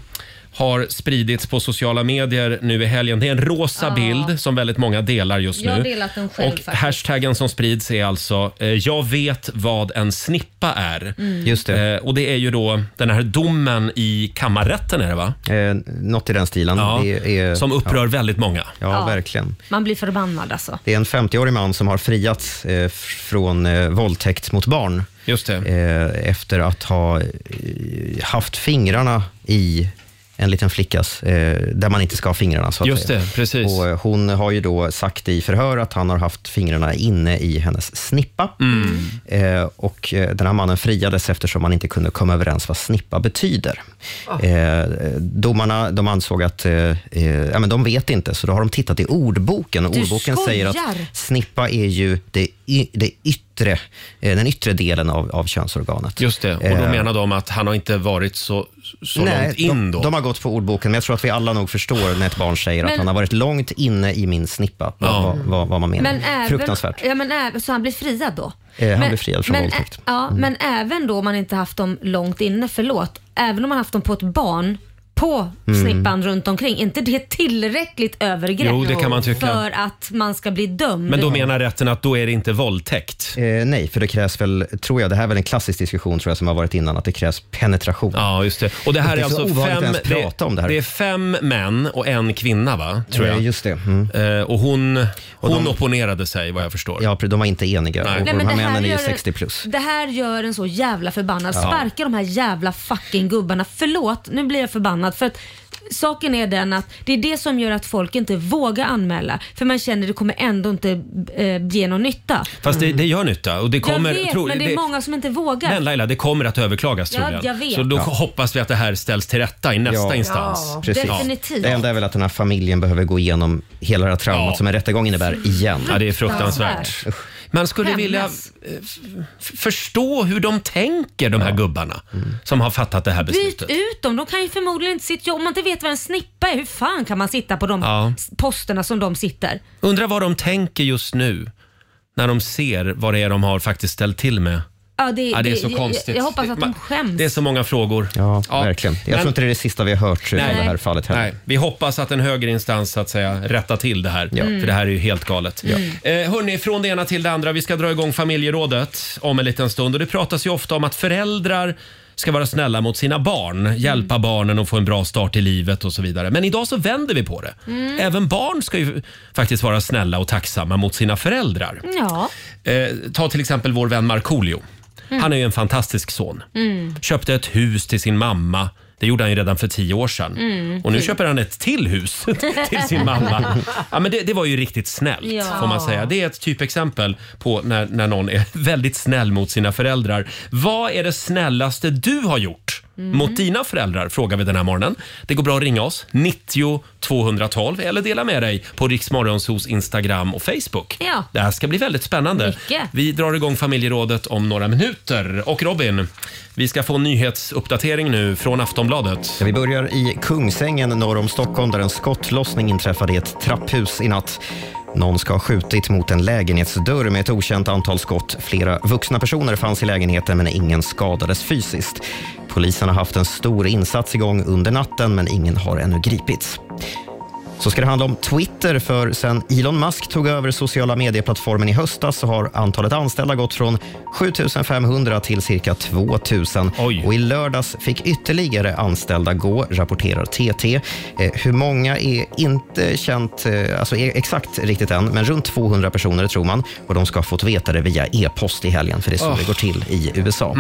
S1: har spridits på sociala medier nu i helgen. Det är en rosa bild som väldigt många delar just
S2: Jag har
S1: nu.
S2: delat den själv
S1: Och
S2: faktiskt.
S1: hashtaggen som sprids är alltså eh, “Jag vet vad en snippa är”.
S2: Mm.
S3: Just
S1: det. Eh, och det är ju då den här domen i kammarrätten är det va?
S3: Eh, något i den stilen.
S1: Ja,
S3: Det är,
S1: som upprör väldigt många.
S3: Ja,
S2: Ja.
S3: verkligen.
S2: Man blir förbannad alltså.
S3: Det är en 50-årig man som har friats eh, f- från eh, våldtäkt mot barn.
S1: Just
S3: Eh, efter att ha eh, haft fingrarna i en liten flickas, eh, där man inte ska ha fingrarna. Så att
S1: Just
S3: säga.
S1: det, precis.
S3: Och, eh, hon har ju då sagt i förhör att han har haft fingrarna inne i hennes snippa.
S1: Mm.
S3: Eh, och eh, den här mannen friades eftersom man inte kunde komma överens vad snippa betyder. Eh, domarna de ansåg att eh, eh, ja, men de vet inte, så då har de tittat i ordboken. Och
S11: Du
S3: ordboken säger att
S11: skojar!
S3: snippa är ju det, y, det yttre, eh, den yttre delen av, av könsorganet.
S1: Just det, och då
S3: Eh,
S1: menar de att han har inte varit så, så
S3: Nej,
S1: långt in
S3: de,
S1: då.
S3: de har gått på ordboken, men jag tror att vi alla nog förstår när ett barn säger att
S2: Men-
S3: han har varit långt inne i min snippa. Vad, vad, vad, vad man menar.
S2: Men även,
S3: Fruktansvärt.
S2: Ja, men även, så han blir friad då?
S3: Eh, han
S2: men,
S3: blir friad från
S2: men,
S3: våldtäkt. Mm.
S2: ä- Ja, Men även då om man inte haft dem långt inne, förlåt, även om man haft dem på ett barn på
S1: Mm.
S2: snippan runt omkring, inte det tillräckligt övergrepp
S1: Jo, det kan man tycka.
S2: för att man ska bli dömd?
S1: Men då menar rätten att då är det inte våldtäkt?
S3: Eh, nej, för det krävs väl, tror jag, det här är väl en klassisk diskussion tror jag som har varit innan, att det krävs penetration.
S1: Ja, just det. Och det här är,
S3: så
S1: alltså
S3: ovanligt
S1: fem,
S3: ens prata om det här.
S1: är fem män och en kvinna va? Tror jag.
S3: Eh, just det. Mm.
S1: Eh, och hon,
S3: Och
S1: hon
S3: de-
S1: opponerade sig vad jag förstår.
S3: Ja, de var inte eniga.
S1: Nej.
S2: Nej,
S3: Och de
S2: men
S3: här
S2: det här
S3: männen är ju
S2: gör-
S3: 60 plus.
S2: Det här gör en så jävla förbannad.
S3: Ja.
S2: Sparka de här jävla fucking gubbarna. Förlåt, nu blir jag förbannad. För att Saken är den att det är det som gör att folk inte vågar anmäla. För man känner att det kommer ändå inte eh, ge någon nytta.
S1: Fast det, det gör nytta. Och det kommer,
S2: jag vet,
S1: tror-
S2: men det är många som inte vågar.
S1: Men Laila, det kommer att överklagas
S2: Ja,
S1: troligen.
S2: jag vet.
S1: Så då
S2: Ja.
S1: hoppas vi att det här ställs till rätta i nästa
S3: Ja.
S1: instans.
S2: Ja,
S3: Precis.
S2: definitivt.
S3: Det enda är väl att den här familjen behöver gå igenom hela det här traumat som en rättegång innebär igen.
S1: Ja, det är fruktansvärt. Man skulle
S2: Hämnas.
S1: vilja eh, f- f- förstå hur de tänker, de här gubbarna som har fattat det här
S2: Byt
S1: beslutet.
S2: ut dem. De kan ju förmodligen inte sitta... Om man inte vet vad en snippa är, hur fan kan man sitta på de
S1: Ja.
S2: s- posterna som de sitter?
S1: Undrar vad de tänker just nu när de ser vad det är de har faktiskt ställt till med.
S2: Ja, det,
S1: Ja, det är så
S2: jag-
S1: konstigt.
S2: Jag, jag hoppas att
S1: Man-
S2: de skäms.
S1: Det är så många frågor. Ja,
S3: verkligen. Jag
S1: men-
S3: tror inte det är det sista vi har hört eh,
S1: Nej.
S3: om det här fallet heller.
S1: Nej, vi hoppas att en högre instans så att säga rättar till det här.
S3: Ja.
S1: För det här är ju helt galet.
S3: Ja.
S1: Mm. Eh, hörni, från det ena till det andra. Vi ska dra igång familjerådet om en liten stund. Och det pratas ju ofta om att föräldrar ska vara snälla mot sina barn, hjälpa
S3: Mm.
S1: barnen att få en bra start i livet och så vidare. Men idag så vänder vi på det.
S2: Mm.
S1: Även barn ska ju faktiskt vara snälla och tacksamma mot sina föräldrar.
S2: Ja.
S1: Eh, ta till exempel vår vän Markoolio.
S2: Mm.
S1: Han är ju en fantastisk son.
S2: Mm.
S1: Köpte ett hus till sin mamma. Det gjorde han ju redan för tio år sedan.
S2: Mm.
S1: Och nu
S2: Kul.
S1: köper han ett till hus till sin mamma. Ja, men det, det var ju riktigt snällt
S2: Ja.
S1: får man säga. Det är ett typexempel på när, när någon är väldigt snäll mot sina föräldrar. Vad är det snällaste du har gjort
S9: Mm.
S1: mot dina föräldrar? Frågar vi den här morgonen. Det går bra att ringa oss, 90 212 eller dela med dig på Riksmorgonsos Instagram och Facebook.
S2: Ja.
S1: Det här ska bli väldigt spännande.
S2: Mycket.
S1: Vi drar igång familjerådet om några minuter. Och Robin, vi ska få en nyhetsuppdatering nu från Aftonbladet.
S3: Ja, Vi börjar i Kungsängen norr om Stockholm där en skottlossning inträffade i ett trapphus i natt. Någon ska ha skjutit mot en lägenhetsdörr med ett okänt antal skott. Flera vuxna personer fanns i lägenheten men ingen skadades fysiskt. Polisen har haft en stor insats igång under natten men ingen har ännu gripits. Så ska det handla om Twitter, för sen Elon Musk tog över sociala medieplattformen i höstas så har antalet anställda gått från 7 500 till cirka 2 000. Och i lördags fick ytterligare anställda gå, rapporterar TT. Eh, hur många är inte känt, eh, alltså är exakt riktigt än, men runt 200 personer tror man. Och de ska ha fått veta det via e-post i helgen, för det är så
S11: Oh.
S3: det går till i USA.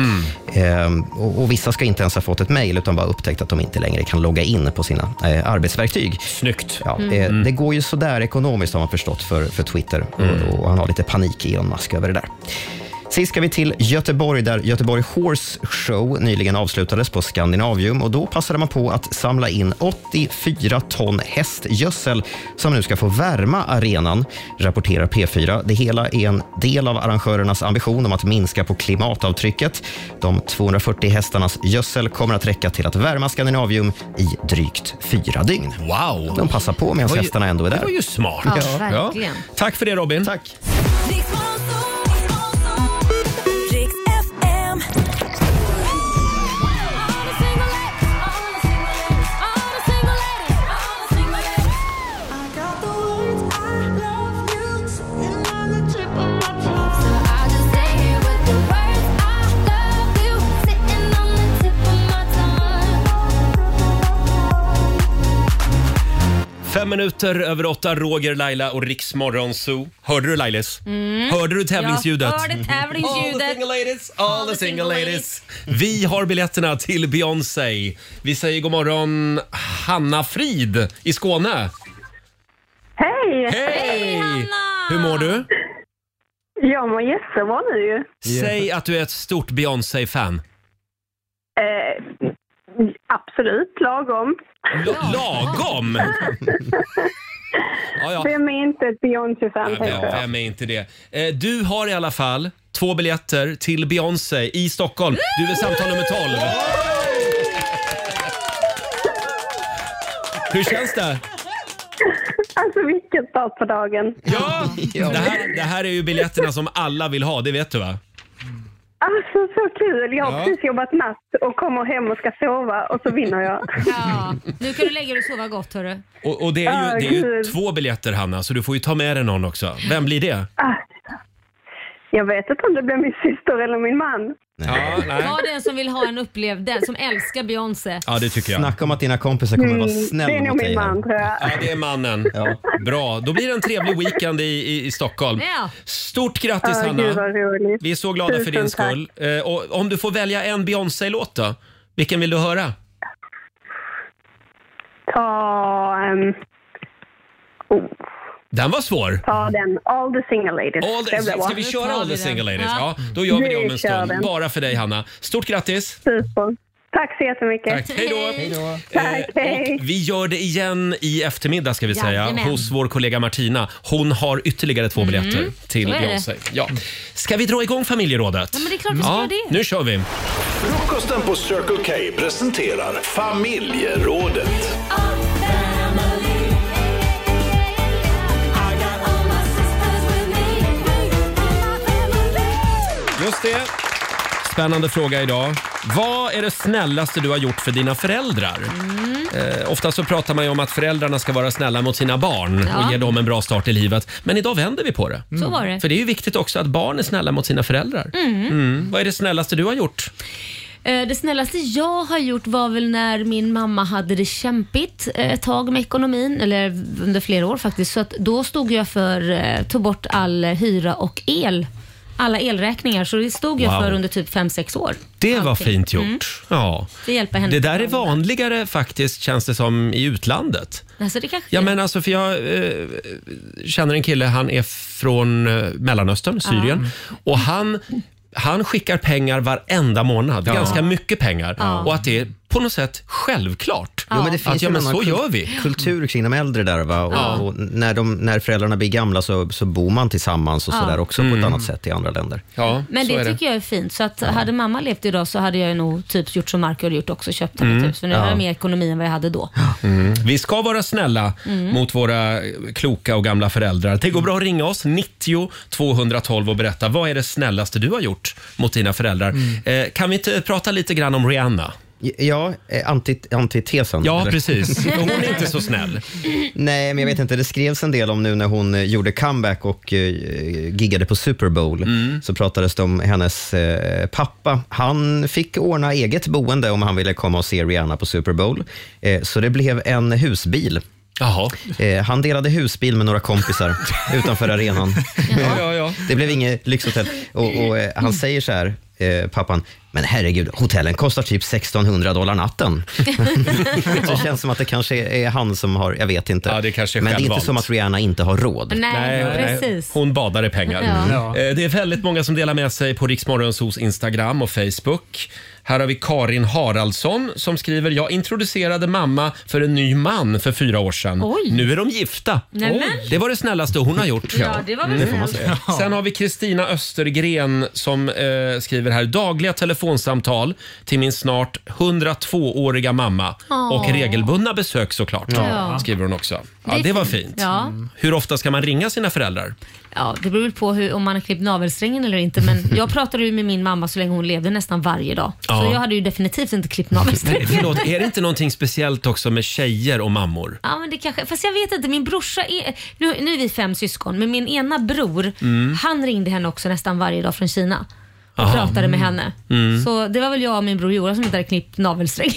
S3: Ehm, och, och vissa ska inte ens ha fått ett mejl utan bara upptäckt att de inte längre kan logga in på sina eh, arbetsverktyg.
S1: Snyggt.
S3: Ja,
S11: Mm.
S3: eh,
S11: Mm.
S3: Det går ju sådär ekonomiskt har man förstått för, för Twitter och, och han har lite panik Elon Musk över det där. Sist ska vi till Göteborg där Göteborg Horse Show nyligen avslutades på Scandinavium och då passade man på att samla in 84 ton hästgödsel som nu ska få värma arenan, rapporterar P4. Det hela är en del av arrangörernas ambition om att minska på klimatavtrycket. De 240 hästarnas gödsel kommer att räcka till att värma Scandinavium i drygt fyra dygn.
S1: Wow!
S3: De passar på medan
S1: Det var ju-
S3: hästarna ändå är där.
S1: det var ju smart.
S3: Ja.
S1: verkligen. Tack för det Robin.
S3: Tack.
S1: Fem minuter över åtta, Roger, Laila och Riks Morgonzoo. Hörde du Lailis?
S2: Mm.
S1: Hörde du tävlingsljudet?
S2: Jag hörde
S1: All the
S2: tävlingsljudet.
S1: single ladies, all the single ladies. Vi har biljetterna till Beyoncé. Vi säger god morgon Hanna Frid i Skåne.
S12: Hej!
S1: Hej Hanna! Hur mår du?
S12: Jag mår jättebra nu ju.
S1: Säg att du är ett stort Beyoncé-fan.
S12: Eh, absolut, lagom.
S1: L- lagom? ja, ja.
S12: Vem är inte ett Beyoncé-fan?
S1: Ja,
S12: tänker
S1: Vem,
S12: jag.
S1: vem är inte det? Eh, Du har i alla fall två biljetter till Beyoncé i Stockholm. Du är samtal nummer 12. Hur känns det?
S12: Alltså vilket dag på dagen.
S1: Ja! Det här, det här är ju biljetterna som alla vill ha, det vet du va?
S12: Alltså så kul! Jag har
S1: Ja.
S12: precis jobbat natt och kommer hem och ska sova och så vinner jag.
S2: Ja, nu kan du lägga dig och sova gott hörru.
S1: Och, och det är
S12: Ah,
S1: ju, det är ju
S12: gud.
S1: två biljetter Hanna, så du får ju ta med dig någon också. Vem blir det?
S12: Jag vet inte om det blir min syster eller min man.
S1: Ja, nej.
S2: Ta den som vill ha en upplevd, den som älskar Beyoncé.
S1: Ja, det tycker jag.
S3: Snacka om att dina kompisar kommer att vara
S2: Mm,
S3: snälla
S2: det är nog
S3: mot dig.
S2: min
S3: här.
S2: man,
S12: tror jag.
S1: Ja, det är mannen. Bra, då blir det en trevlig weekend i, i, i Stockholm.
S12: Ja.
S1: Stort grattis
S12: Ja,
S1: Hanna!
S12: gud, vad roligt.
S1: Vi är så glada för
S12: Tusen
S1: din
S12: tack.
S1: skull. Eh, och om du får välja en Beyoncé-låt då? Vilken vill du höra?
S12: Ta, ehm, oh,
S1: Den var svår.
S12: ta den. All the single ladies.
S1: All
S12: Det
S1: the,
S12: blir bra.
S1: ska vi köra All the single ladies? Ja,
S12: Ja.
S1: då gör vi det om
S12: Vi
S1: en
S12: kör
S1: stund.
S12: den.
S1: Bara för dig Hanna. Stort grattis!
S12: Super. Tack så jättemycket.
S1: Tack. Eh, Hej då.
S12: Tack,
S1: Hej
S12: hej.
S1: Vi gör det igen i eftermiddag ska vi säga
S12: Jajamän.
S1: hos vår kollega Martina. Hon har ytterligare två
S2: Mm.
S1: biljetter till
S2: Så är det.
S1: Beyoncé. Ja. Ska vi dra igång familjerådet?
S2: Ja, men det är klart vi ska göra det.
S1: Nu kör vi!
S4: Frukosten på Circle K presenterar familjerådet.
S1: Just det. Spännande fråga idag. Vad är det snällaste du har gjort för dina föräldrar?
S2: Mm.
S1: Eh, ofta så pratar man ju om att föräldrarna ska vara snälla mot sina barn
S2: Ja.
S1: och ge dem en bra start i livet. Men idag vänder vi på det.
S2: Så Mm. var det.
S1: För det är ju viktigt också att barn är snälla mot sina föräldrar.
S2: Mm.
S1: Vad är det snällaste du har gjort?
S2: Eh, Det snällaste jag har gjort var väl när min mamma hade det kämpigt eh, ett tag med ekonomin, eller under flera år faktiskt. Så att då stod jag för, eh, tog bort all eh, hyra och el. Alla elräkningar, så det stod jag
S1: Wow.
S2: för under typ 5-6 år.
S1: Det var
S2: Allting.
S1: fint gjort.
S2: Mm.
S1: Ja.
S2: Det hjälper henne.
S1: Det där är vanligare faktiskt känns det som i utlandet.
S2: Alltså, det kanske
S1: Ja, men alltså, för jag eh, känner en kille, han är från eh, Mellanöstern, Syrien. Och han, han skickar pengar varenda månad,
S3: Ja.
S1: ganska mycket pengar.
S3: Ja.
S1: Och att det är på något sätt självklart.
S3: Jo, men det finns
S1: att, ja,
S3: en
S1: men
S3: annan
S1: så
S3: kul-
S1: gör vi.
S3: kultur kring de äldre där. Va? Och,
S1: Ja.
S3: och när, de, när föräldrarna blir gamla så, så bor man tillsammans och
S2: Ja.
S3: sådär också
S1: Mm.
S3: på ett annat sätt i andra länder.
S1: Ja,
S2: Men det, tycker jag är fint. Så att hade mamma levt idag så hade jag nog typ gjort som Marco har gjort också, köpt henne
S1: Mm.
S2: ett hus. För nu
S1: Ja.
S2: har jag mer ekonomi än vad jag hade då.
S1: Mm. Vi ska vara snälla
S2: Mm.
S1: mot våra kloka och gamla föräldrar. Det går bra att ringa oss, 90 212 och berätta vad är det snällaste du har gjort mot dina föräldrar. Eh, kan vi inte prata lite grann om Rihanna?
S3: Ja, eh, anti, antitesen.
S1: Ja,
S3: eller?
S1: precis. Hon är inte så snäll.
S3: Nej, men jag vet inte. Det skrevs en del om nu när hon eh, gjorde comeback och eh, giggade på Super Bowl. Så pratades det om hennes eh, pappa. Han fick ordna eget boende om han ville komma och se Rihanna på Super Bowl. Eh, så det blev en husbil.
S1: Jaha.
S3: Eh, han delade husbil med några kompisar utanför arenan.
S1: Ja, Mm. ja, ja.
S3: Det blev inget lyxhotell. Och, och, eh, han säger så här, eh, pappan, men herregud, hotellen kostar typ 1600 dollar natten. så det känns som att det kanske är han som har, jag vet inte. men det är inte
S1: självvalt.
S3: som att Rihanna inte har råd.
S2: Nej, precis.
S1: Hon badar i pengar.
S2: Ja.
S1: Eh, Det är väldigt många som delar med sig på Riksmorgonsos Instagram och Facebook. Här har vi Karin Haraldsson som skriver “Jag introducerade mamma för en ny man för fyra år sedan.
S2: Oj.
S1: Nu är de gifta.
S2: Nämen.
S1: Det var det snällaste hon har gjort.
S2: Ja, det var väl
S1: Mm.
S2: snällt. Ja.
S1: Sen har vi Kristina Östergren som eh, skriver här “Dagliga telefonsamtal till min snart 102-åriga mamma
S2: Åh.
S1: och regelbundna besök såklart”.
S2: Ja.
S1: Skriver hon också. Ja,
S2: är
S1: det var
S2: fint.
S1: fint.
S2: Ja.
S1: Hur ofta ska man ringa sina föräldrar?
S2: Ja, det beror väl på hur, om man har klippt navelsträngen eller inte. Men jag pratade ju med min mamma så länge hon levde nästan varje dag.
S1: Ja.
S2: Så jag hade ju definitivt inte klippt navelsträngen.
S1: Men, förlåt, är det inte någonting speciellt också med tjejer och mammor?
S2: Ja, men det kanske, fast jag vet inte, min brorsa är, nu, nu är vi fem syskon, men min ena bror,
S1: Mm.
S2: han ringde henne också nästan varje dag från Kina och
S1: Aha.
S2: pratade med henne.
S1: Mm.
S2: Så det var väl jag och min bror Johan som inte hade klippt navelsträng.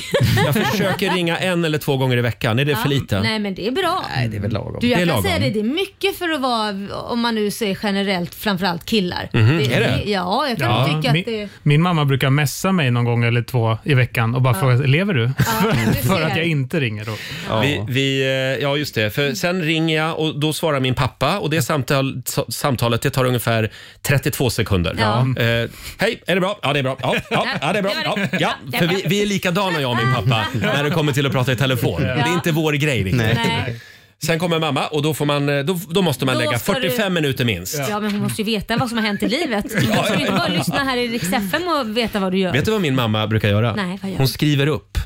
S1: Jag försöker ringa en eller två gånger i veckan. Är det för lite?
S2: Nej, men det är bra.
S1: Nej, det är väl lagom.
S2: Du, jag
S1: det är
S2: kan
S1: lagom.
S2: säga det, det är mycket för att vara, om man nu ser generellt, framförallt killar.
S11: Mhm, är det?
S2: Ja, jag kan tycka att
S11: min,
S2: det
S11: min mamma brukar messa mig någon gång eller två i veckan och bara
S2: Ja.
S11: fråga lever du?
S2: du
S11: för att
S2: ser.
S11: jag inte ringer då.
S1: Vi, vi, eh, ja, just det. För sen ringer jag och då svarar min pappa och det samtal, sa- samtalet det tar ungefär 32 sekunder.
S4: Ja.
S1: Eh, Hej, är det bra? Ja, det är bra. Ja, ja, ja det är bra. Ja, ja. För vi, vi är likadana jag och min pappa när det kommer till att prata i telefon.
S4: Ja.
S1: Det är inte vår grej riktigt.
S2: Nej.
S1: Sen kommer mamma och då, får man, eh, då, då måste man
S2: Då
S1: lägga
S2: ska du-
S1: 45 minuter minst.
S2: Ja, men hon måste ju veta vad som har hänt i livet. Hon
S1: ja,
S2: får ju inte bara
S1: ja.
S2: lyssna här i Rix FM och veta vad du gör.
S1: Vet du vad min mamma brukar göra?
S2: Nej, vad gör hon?
S1: hon skriver upp.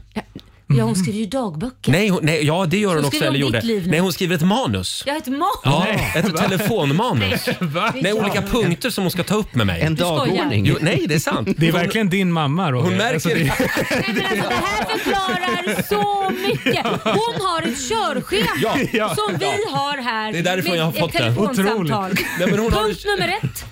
S2: Ja, hon skriver ju dagböcker.
S1: Nej, hon, nej, ja det gör
S2: Så
S1: hon också.
S2: skriver
S1: Eller
S2: hon
S1: gjorde.
S2: ditt liv nu?
S1: Nej, hon skriver ett manus.
S2: Jag har ett manus.
S1: Ja, ett telefonmanus.
S2: Nej.
S1: Nej, olika punkter som hon ska ta upp med mig.
S11: En Du skojar. dagordning.
S1: Jo, nej, det är sant.
S11: Det är
S1: Hon-
S11: verkligen din mamma Roger. Alltså,
S1: Hon märker
S11: det.
S2: alltså, förklarar så mycket. Hon har ett körschema
S1: Ja, ja,
S2: som
S1: ja.
S2: vi har här.
S1: Det är därifrån
S2: med
S1: jag har
S2: ett
S1: fått det.
S2: telefonsamtal.
S1: Otroligt. Nej, men hon har
S2: Punkt nummer ett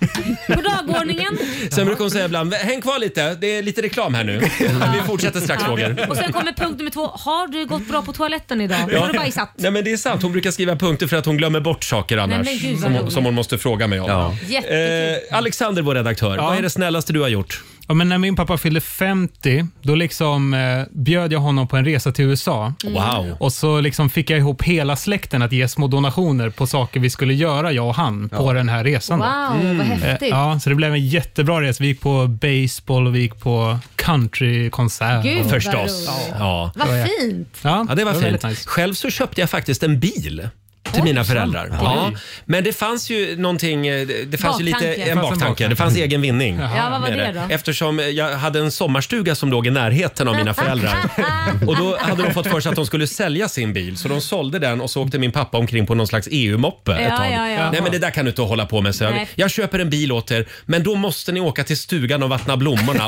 S2: på dagordningen.
S1: Sen brukar hon säga ibland, häng kvar lite, det är lite reklam här nu. Vi fortsätter strax Roger.
S2: Och sen kommer punkt nummer två. Har du gått bra på toaletten idag? Har du bajsat?
S1: Nej men det är sant, hon brukar skriva punkter för att hon glömmer bort saker
S2: Nej, men
S1: annars.
S2: gud, vad
S1: som, hon,
S2: roligt.
S1: som hon måste fråga mig om.
S2: Jättekul.
S1: Eh, Alexander, vår redaktör, vad är det snällaste du har gjort?
S11: Ja, men när min pappa fyllde 50, då liksom, eh, bjöd jag honom på en resa till USA.
S1: Mm. Wow.
S11: Och så liksom fick jag ihop hela släkten att ge små donationer på saker vi skulle göra, jag och han, på den här resan. då.
S2: Wow, vad Mm. häftigt.
S11: Eh, Ja, så det blev en jättebra resa. Vi gick på baseball och vi gick på countrykonsert.
S2: Gud,
S11: och-
S2: vad Förstås. roligt.
S1: Ja.
S2: Vad
S11: Det var jä-
S2: fint.
S11: Ja,
S1: Ja, det var
S11: det var
S1: fint.
S11: väldigt nice.
S1: Själv så köpte jag faktiskt en bil till
S11: Oj,
S1: mina
S11: sant.
S1: föräldrar.
S11: Oj.
S1: Ja, men det fanns ju någonting, eh, det det fanns ju lite
S2: Baktanke.
S1: en baktanke. Det fanns egen vinning.
S2: Jaha. Ja, vad var
S1: med
S2: det då?
S1: Eftersom jag hade en sommarstuga som låg i närheten av mina föräldrar. Och då hade de fått för sig att de skulle sälja sin bil så de sålde den och så åkte min pappa omkring på någon slags EU-moppe
S2: Ja,
S1: ett tag.
S2: ja, ja.
S1: Nej men det där kan du inte hålla på med så jag,
S2: Nej.
S1: jag köper en bil åt er men då måste ni åka till stugan och vattna blommorna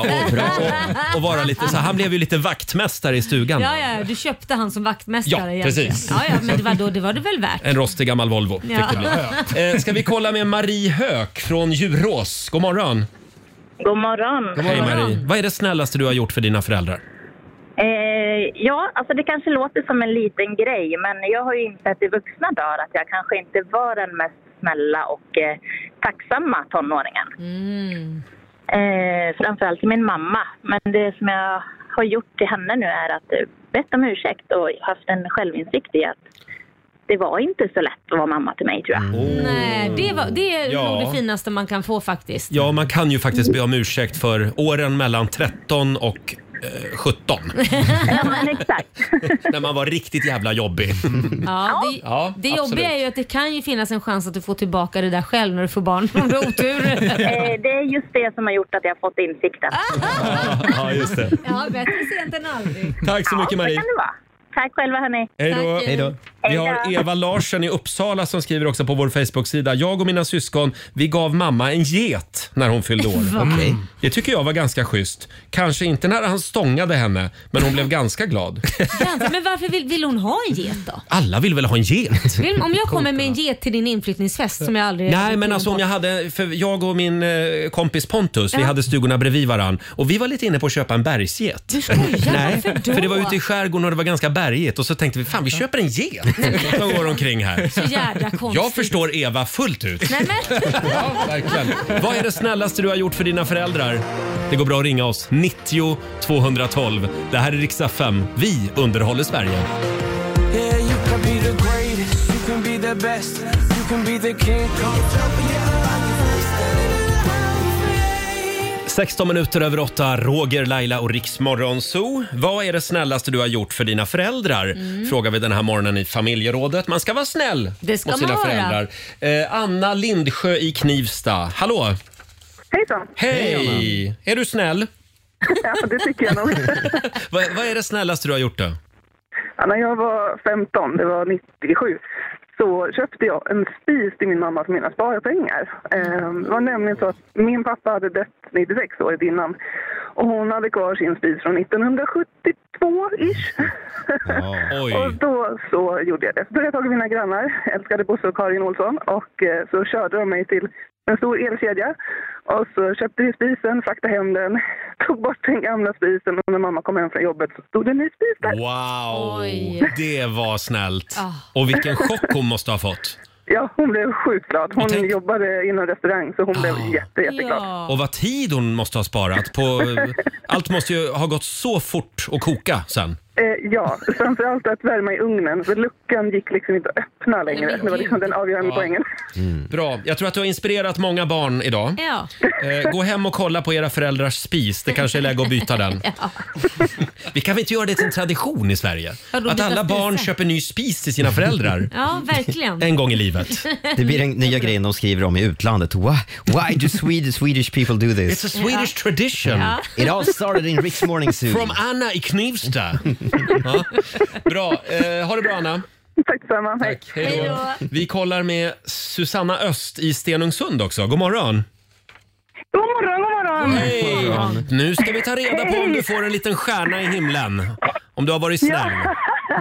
S1: och, och, och vara lite så här. Han blev ju lite vaktmästare i stugan.
S2: Ja, ja, du köpte han som vaktmästare.
S1: Ja,
S2: egentligen.
S1: precis.
S2: Ja, ja, men det var, då, det var det väl värt?
S1: En rostig gammal Volvo.
S2: Ja.
S1: fick det bli. Eh, Ska vi kolla med Marie Höök från Djurås? God morgon.
S12: God morgon.
S1: Hej Marie. Vad är det snällaste du har gjort för dina föräldrar?
S12: Eh, ja, alltså det kanske låter som en liten grej, men jag har ju insett i vuxna dagar att jag kanske inte var den mest snälla och eh, tacksamma tonåringen. Eh, framförallt till min mamma. Men det som jag har gjort till henne nu är att eh, bett om ursäkt och haft en självinsikt i att det var inte så lätt att vara mamma till mig, tror jag.
S1: Mm.
S2: Nej, Eh, det, var, det är
S1: Ja.
S2: nog det finaste man kan få faktiskt.
S1: Ja, man kan ju faktiskt be om ursäkt för åren mellan 13 och eh, 17.
S12: ja, men exakt.
S1: När man var riktigt jävla jobbig.
S2: Ja, det
S1: Ja,
S2: det
S1: absolut.
S2: jobbiga är ju att det kan ju finnas en chans att du får tillbaka det där själv när du får barn om du har otur.
S12: Eh, det är just det som har gjort att jag har fått insikten.
S1: ja, just det.
S2: Ja, bättre sent än aldrig.
S1: Tack så mycket
S12: Ja, så
S1: Marie.
S12: kan det vara. Tack själva hörni.
S1: Hej då. Vi har Eva Larsen i Uppsala som skriver också på vår Facebook-sida. Jag och mina syskon, vi gav mamma en get när hon fyllde år.
S4: Va? Okej.
S1: Det tycker jag var ganska schysst. Kanske inte när han stångade henne, men hon blev ganska glad.
S2: Vänta, men varför vill, vill hon ha en get då?
S1: Alla vill väl ha en get?
S2: Vill, om jag kommer med en get till din inflyttningsfest som jag aldrig...
S1: Nej, men alltså om jag hade, för jag och min eh, kompis Pontus, vi
S2: Ja.
S1: hade stugorna bredvid varann och vi var lite inne på att köpa en bergsget.
S2: Du skojar,
S1: Nej,
S2: varför då?
S1: för det var ute i skärgården och det var ganska bergigt och så tänkte vi, fan vi köper en get som går omkring här.
S2: Så jävla konstigt.
S1: Jag förstår Eva fullt ut.
S2: Nej, men...
S1: Verkligen. Vad är det snällaste du har gjort för dina föräldrar? Det går bra att ringa oss. 90 212. Det här är riksdag 5. Vi underhåller Sverige.
S13: Yeah, you can be the greatest, you can be the best, you can be the king. Come top of your life.
S1: 16 minuter över 8, Roger, Laila och Riksmorgon Zoo. Vad är det snällaste du har gjort för dina föräldrar?
S14: Mm.
S1: Frågar vi den här morgonen i familjerådet. Man ska vara snäll
S14: Det ska
S1: mot sina
S14: man vara.
S1: föräldrar. Eh, Anna Lindsjö i Knivsta. Hallå!
S15: Hejsan!
S1: Hej!
S15: Hej,
S1: är du snäll?
S15: Ja, det tycker jag nog.
S1: Vad, vad är det snällaste du har gjort då?
S15: Ja, när jag var 15, det var 97, så köpte jag en spis till min mamma för mina sparpengar. Eh, Det var nämligen så att min pappa hade dött 96 året innan och hon hade kvar sin spis från 1972-ish. och då så gjorde jag det. Så tog jag tag i mina grannar, älskade Bosse och Karin Olsson, och eh, så körde de mig till en stor elkedja. Och så köpte vi spisen, fraktade hem den, tog bort den gamla spisen och när mamma kom hem från jobbet så stod det en ny spis där.
S1: Wow,
S15: Oj.
S1: det var snällt.
S15: Ah.
S1: Och vilken chock hon måste ha fått.
S15: Ja, hon blev sjukt glad. Hon jobbade inom restaurang så hon blev jätte, jätteglad.
S1: Och vad tid hon måste ha sparat. På, allt måste ju ha gått så fort att koka sen.
S15: Eh, ja, framförallt att värma i ugnen för luckan gick liksom inte att öppna längre. Det var liksom den avgörande
S1: Ja.
S15: poängen.
S1: Bra. Jag tror att du har inspirerat många barn idag.
S14: Ja.
S1: Eh, gå hem och kolla på era föräldrars spis. Det kanske är läge att byta den. Vi kan väl inte göra det till en tradition i Sverige?
S2: Ja, då
S1: Att
S2: byta
S1: alla barn köper ny spis till sina föräldrar.
S2: Ja, verkligen.
S1: En gång i livet.
S3: Det blir den nya grejen de skriver om i utlandet. Why, why do Swedish, Swedish people do this?
S1: It's a Swedish tradition.
S3: Mm. It all started in Rick's morning zoo.
S1: From Anna i Knivsta. ja. Bra. Eh, ha det bra, Anna.
S15: Tack detsamma. Hej.
S1: Hej då. Vi kollar med Susanna Öst i Stenungsund också. God morgon.
S16: God morgon, god morgon!
S1: Hej. Nu ska vi ta reda på om du får en liten stjärna i himlen. Om du har varit snäll.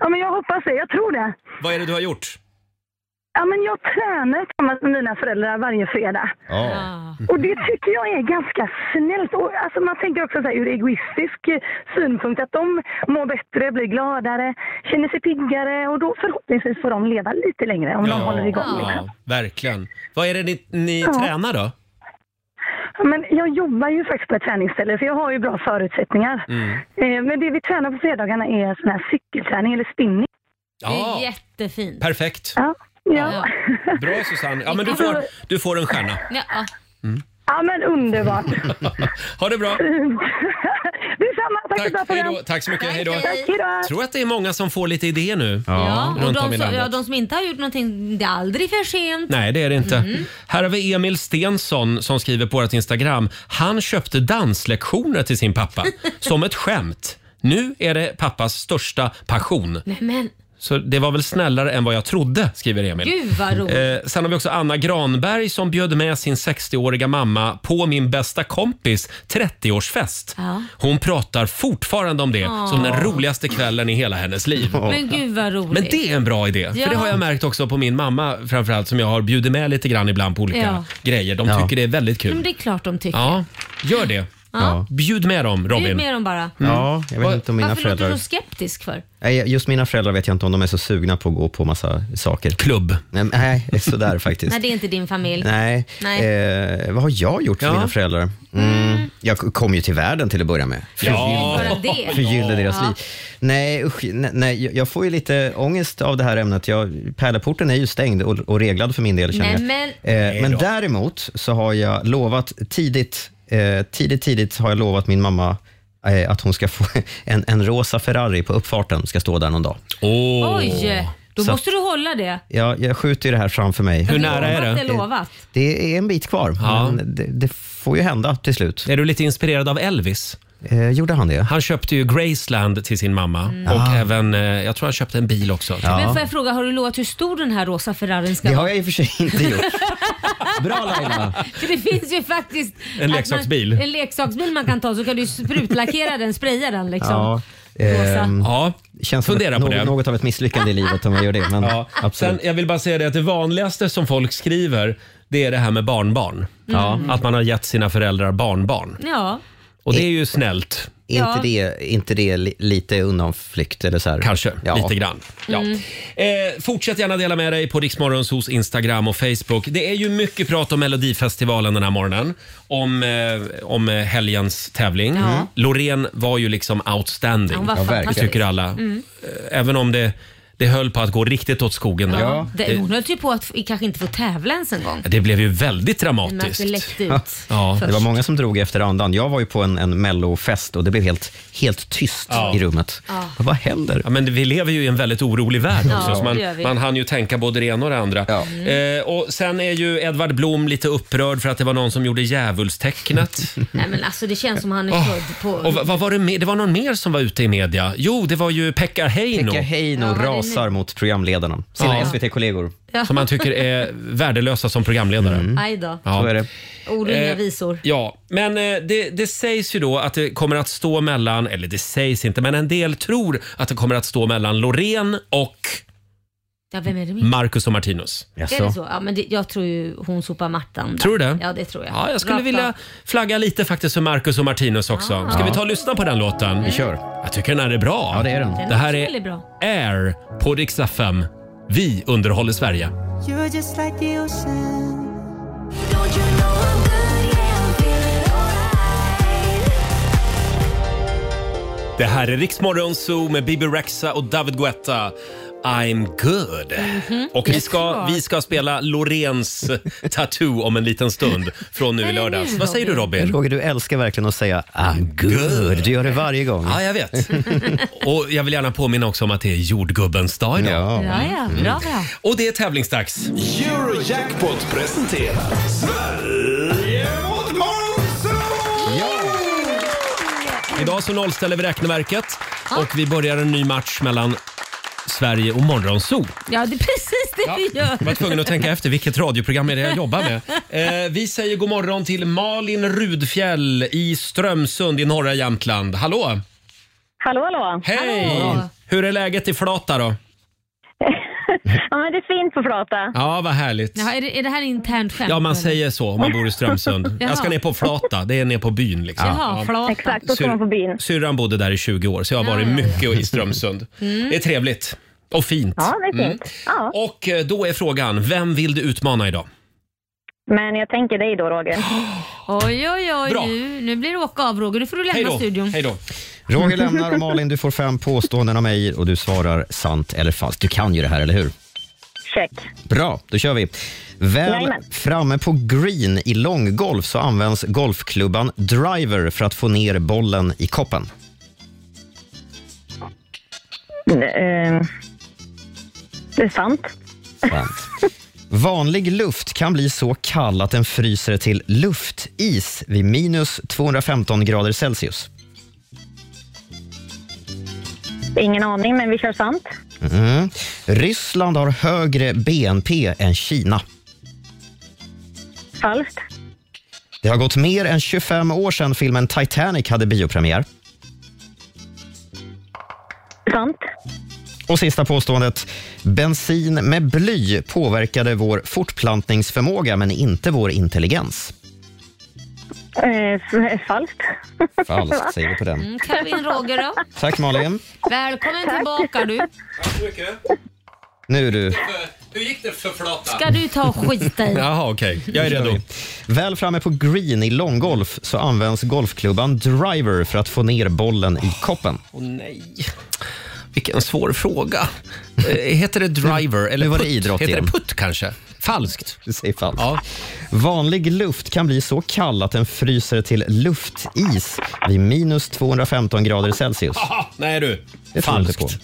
S16: Ja, men jag hoppas det. Jag tror det.
S1: Vad är det du har gjort?
S16: Ja, men jag tränar tillsammans med mina föräldrar varje fredag. Och det tycker jag är ganska snällt. Och, alltså, man tänker också så här, ur egoistisk eh, synpunkt att de mår bättre, blir gladare, känner sig piggare och då förhoppningsvis får de leva lite längre om de håller igång. liksom.
S1: Ja, verkligen. Vad är det ni, ni
S16: Ja.
S1: tränar då?
S16: Ja, Men jag jobbar ju faktiskt på ett träningsställe så jag har ju bra förutsättningar.
S1: Mm.
S16: Eh, Men det vi tränar på fredagarna är sån här cykelträning eller spinning.
S1: Ja,
S2: Jättefint.
S1: perfekt.
S16: Ja.
S1: Bra Susanne. Ja, men du får, du får en stjärna.
S2: Ja.
S16: Ja, men underbart.
S1: Ha det bra.
S16: Detsamma. Tack, för ett bra
S1: Hej
S16: program.
S1: då. Tack så mycket. Hej då.
S2: Tack, hej.
S1: Jag tror att det är många som får lite idéer nu.
S2: Ja, och
S1: Runt om
S2: de
S1: i
S2: som,
S1: landet.
S2: ja, de som inte har gjort någonting, det är aldrig för sent.
S1: Nej, det är det inte.
S2: Mm.
S1: Här har vi Emil Stensson som skriver på vårt Instagram. Han köpte danslektioner till sin pappa som ett skämt. Nu är det pappas största passion.
S2: Nej, men
S1: Så det var väl snällare än vad jag trodde, skriver Emil.
S2: Gud, vad roligt.
S1: Eh, sen har vi också Anna Granberg som bjöd med sin 60-åriga mamma på min bästa kompis 30-årsfest.
S2: Ja.
S1: Hon pratar fortfarande om det
S2: Åh.
S1: som den roligaste kvällen i hela hennes liv.
S2: Men gud vad roligt.
S1: Men det är en bra idé.
S2: Ja.
S1: För det har jag märkt också på min mamma framförallt som jag har bjudit med lite grann ibland på olika
S2: Ja.
S1: grejer. De tycker det är väldigt
S2: Men
S1: kul.
S2: Mm, det är klart de tycker.
S1: Ja, gör det.
S2: Ja.
S1: Bjud med dem
S2: Robin.
S1: Robin.
S2: Bjud med dem bara.
S3: Ja, jag vet inte om mina
S2: Varför låter
S3: föräldrar...
S2: du så skeptisk för?
S3: Nej, Just mina föräldrar vet jag inte om de är så sugna på att gå på massa saker.
S1: Klubb?
S3: Nej, sådär faktiskt.
S2: Nej, det är inte din familj.
S3: Nej.
S2: Nej.
S3: Eh, vad har jag gjort för
S2: Ja.
S3: mina föräldrar? Mm. Jag kom ju till världen till att börja med.
S2: Ja.
S3: Förgyllde-
S2: Bara det.
S3: Förgyllde deras
S2: Ja.
S3: liv. Nej, usch, nej, nej, jag- jag får ju lite ångest av det här ämnet. Jag, pärleporten är ju stängd och, och reglad för min del. Känner jag.
S2: Nej, men-
S3: eh, men däremot så har jag lovat tidigt, eh, tidigt, tidigt har jag lovat min mamma eh, att hon ska få en, en rosa Ferrari på uppfarten, ska stå där någon dag.
S2: Oj, då
S3: Så-
S2: måste du hålla det.
S3: Ja, jag skjuter ju det här framför mig.
S2: lovat, är lovat.
S3: Det är en bit kvar, men det, det får ju hända till slut.
S1: Är du lite inspirerad av Elvis?
S3: Eh, gjorde han det?
S1: Han köpte ju Graceland till sin mamma
S2: Mm.
S1: och
S3: Ah.
S1: även, eh, jag tror han köpte en bil också.
S2: Men får jag fråga, har du lovat hur stor den här rosa Ferrarin ska
S1: Det
S2: vara?
S1: har
S3: jag i och för sig inte gjort. Bra Laila!
S2: För det finns ju faktiskt...
S3: En
S2: att
S3: leksaksbil.
S2: Man, en leksaksbil man kan ta så kan du sprutlackera den, spraya den liksom.
S3: Ja. Ehm, känns som
S1: fundera
S3: ett,
S1: på
S3: nå-
S1: det.
S3: något av ett misslyckande i livet om jag gör det. Men
S1: Ja. Sen,
S3: absolut.
S1: jag vill bara säga det att det vanligaste som folk skriver det är det här med barnbarn.
S2: Ja.
S1: Att man har gett sina föräldrar barnbarn.
S2: Ja.
S1: Och det är ju snällt.
S2: Ja.
S3: inte, det, inte det li- lite undanflykt? Eller så här?
S1: Kanske,
S3: ja.
S1: lite grann. Ja. Eh, fortsätt gärna dela med dig på Riksmorgons hos Instagram och Facebook. Det är ju mycket prat om Melodifestivalen den här morgonen. Om, eh, om eh, helgens tävling.
S2: Ja. Mm.
S1: Loreen var ju liksom outstanding.
S2: Hon var Ja, fantastisk.
S1: tycker alla.
S2: Mm.
S1: Eh, Även om det, det höll på att gå riktigt åt skogen. där.
S2: Ja. Det, hon
S1: Det,
S2: höll ju på att f- kanske inte få tävla ens en gång.
S1: det blev ju väldigt
S2: Men att
S1: dramatiskt.
S2: det läckte ut.
S1: Ja.
S3: Det var många som drog efter andan. Jag var ju på en, en mellofest och det blev helt, helt tyst
S1: Ja.
S3: i rummet.
S2: Ja.
S3: Vad händer?
S1: Ja, men vi lever ju i en väldigt orolig värld
S3: Ja,
S1: också, så man,
S3: det gör vi.
S1: man hann ju tänka både det ena och det andra. Eh, och sen är ju Edvard Blom lite upprörd för att det var någon som gjorde djävulstecknet.
S2: Nej men alltså det känns som han är
S1: Åh.
S2: född på...
S1: och vad vad var det mer? Det var någon mer som var ute i media. Jo, det var ju Pekka Heino.
S3: Pekka Heino Ja, det är rasar
S1: mot programledarna,
S3: sina
S1: SVT-kollegor.
S2: Ja.
S1: Som han tycker är värdelösa som programledare.
S2: Aj då.
S1: Ja. Mm. Så är det.
S2: Ord och inga
S1: Eh,
S2: visor.
S1: Ja, men eh, det, det sägs ju då att det kommer att stå mellan, eller det sägs inte, men en del tror att det kommer att stå mellan Loreen och
S2: Ja, vem är det med?
S1: Marcus och Martinus.
S2: Är det så? Ja, men det, jag tror ju hon sopar mattan. där.
S1: Tror du det?
S2: Ja, det tror jag.
S1: Ja, jag skulle
S2: Rakt
S1: vilja
S2: av.
S1: flagga lite faktiskt för Marcus och Martinus också. Ska
S2: Ja.
S1: vi ta och lyssna på den låten? Vi
S3: kör.
S1: Jag tycker den här är bra. Ja, det är
S2: Den
S1: Det här
S2: också
S1: är
S2: väldigt bra.
S1: Air på Rix FM. Vi underhåller Sverige.
S7: You're just like the ocean.
S1: Det här är Riksmorgon Zoo med Bibi Rexa och David Guetta. I'm good. Och vi ska, vi ska spela Loreens Tattoo om en liten stund från nu i lördags. Vad säger du Robin?
S3: Roger, du älskar verkligen att säga I'm good. Du gör det varje gång.
S1: Ja, jag vet. Och jag vill gärna påminna också om att det är jordgubbens dag idag.
S2: Ja, ja.
S1: Mm.
S2: Bra, bra.
S1: Och det är tävlingsdags.
S4: Eurojackpot presenterar Sverige mot Monzo!
S1: Idag så nollställer vi räkneverket och vi börjar en ny match mellan Sverige och Morgonzoo.
S2: Ja, det är precis det vi gör.
S1: Jag var tvungen att tänka efter, vilket radioprogram är det jag jobbar med? Eh, vi säger god morgon till Malin Rudfjell i Strömsund i norra Jämtland. Hallå!
S8: Hallå, hallå!
S1: Hej! Hur är läget i Flata då?
S8: Ja, men det är fint på Flata.
S1: Ja, vad härligt.
S2: Jaha, är, det, är det här internt skämt?
S1: Ja, man säger så om man bor i Strömsund.
S2: Jaha.
S1: Jag ska ner på Flata, det är ner på byn liksom.
S2: Jaha, flata.
S8: Exakt, då ska man på bin.
S1: Syrran bodde där i 20 år, så jag har varit mycket i Strömsund.
S8: Mm.
S1: Det är trevligt. Och fint.
S8: Ja, det är
S1: Mm.
S8: fint. Ja.
S1: Och eh, då är frågan, vem vill du utmana idag?
S8: Men jag tänker dig då, Roger.
S2: Oj, oj, oj.
S8: Bra.
S2: Nu, nu blir det åka av Roger. Nu får du lämna
S8: Hej då.
S2: studion.
S1: Hej då.
S3: Roger lämnar och Malin, du får fem påståenden av mig och du svarar sant eller falskt. Du kan ju det här, eller hur?
S8: Check.
S3: Bra, då kör vi. Väl
S8: Jajamän.
S3: framme på green i långgolf så används golfklubban driver för att få ner bollen i koppen.
S8: Eh, Det är sant.
S3: Sant. Vanlig luft kan bli så kall att den fryser till luftis vid minus 215 grader Celsius.
S8: Ingen aning, men vi kör sant.
S3: Mm. Ryssland har högre BNP än Kina.
S8: Falskt.
S3: Det har gått mer än 25 år sedan filmen Titanic hade biopremiär.
S8: Sant.
S3: Och sista påståendet. Bensin med bly påverkade vår fortplantningsförmåga men inte vår intelligens.
S8: Eh, f- Falskt. Va?
S3: Falskt säger vi på den.
S2: Mm, Karin Roger då?
S3: Tack Malin.
S2: Välkommen tillbaka du.
S3: Nu är du.
S1: Hur gick det för Flata?
S2: Ska du ta och skita i?
S1: Jaha, okej. Jag är redo.
S3: Väl framme på green i långgolf så används golfklubban driver för att få ner bollen i koppen.
S1: Åh nej. Vilken svår fråga. Eh, Heter Mm. det driver eller
S3: Nu var det
S1: putt?
S3: idrott
S1: Heter
S3: igen.
S1: det putt kanske? Falskt.
S3: Du säger falskt. Vanlig luft kan bli så kall att den fryser till luftis vid minus 215 grader Celsius.
S1: Haha, nej du.
S3: Det tror jag inte
S1: Falskt.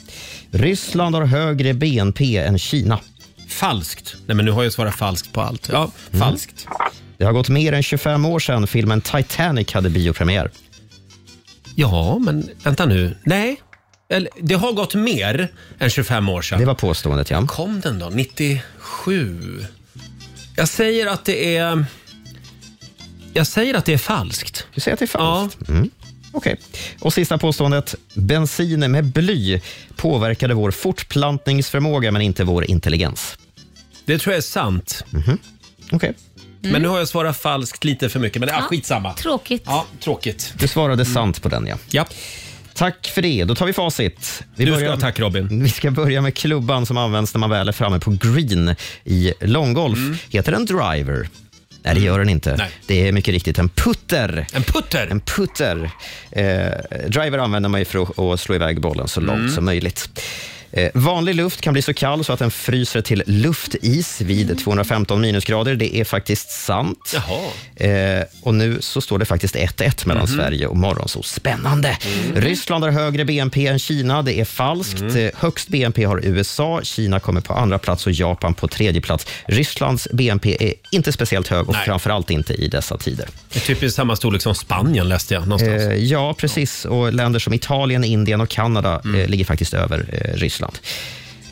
S3: På. Ryssland har högre BNP än Kina.
S1: Falskt. Nej men nu har jag svarat falskt på allt. Ja, falskt.
S3: Det har gått mer än 25 år sedan filmen Titanic hade biopremiär.
S1: Ja, men vänta nu. Nej. Eller, det har gått mer än 25 år sedan. Det
S3: var påståendet, ja.
S1: Kom den då? 97? Jag säger att det är... Jag säger att det är falskt.
S3: Du säger att det är falskt? Mm. Okej. Och sista påståendet. Bensin med bly påverkade vår fortplantningsförmåga men inte vår intelligens.
S1: Det tror jag är sant.
S3: Mhm. Okej.
S1: Men nu har jag svarat falskt lite för mycket, men ah,
S2: Ja.
S1: skitsamma.
S2: Tråkigt.
S1: Ja, tråkigt.
S3: Du svarade
S1: Mm.
S3: sant på den ja.
S1: ja.
S3: Tack för det. Då tar vi facit. Vi
S1: Du ska ha tack, Robin.
S3: Vi ska börja med klubban som används när man väl är framme på green i långgolf. Heter den driver? Nej, det gör den inte. Det är mycket riktigt en putter.
S1: En putter?
S3: En putter. Eh, driver använder man ju för att, att slå iväg bollen så långt som möjligt. Eh, Vanlig luft kan bli så kall så att den fryser till luftis vid 215 minusgrader. Det är faktiskt sant. Eh, och nu så står det faktiskt 1-1 mellan
S4: Mhm.
S3: Sverige och Morgonzoo. Spännande! Ryssland har högre BNP än Kina. Det är falskt. Eh, Högst BNP har USA. Kina kommer på andra plats och Japan på tredje plats. Rysslands BNP är inte speciellt hög och framförallt inte i dessa tider.
S1: Det är typiskt samma storlek som Spanien läste jag någonstans.
S3: Eh, ja, precis. Och länder som Italien, Indien och Kanada eh,
S4: Mm.
S3: ligger faktiskt över eh, Ryssland.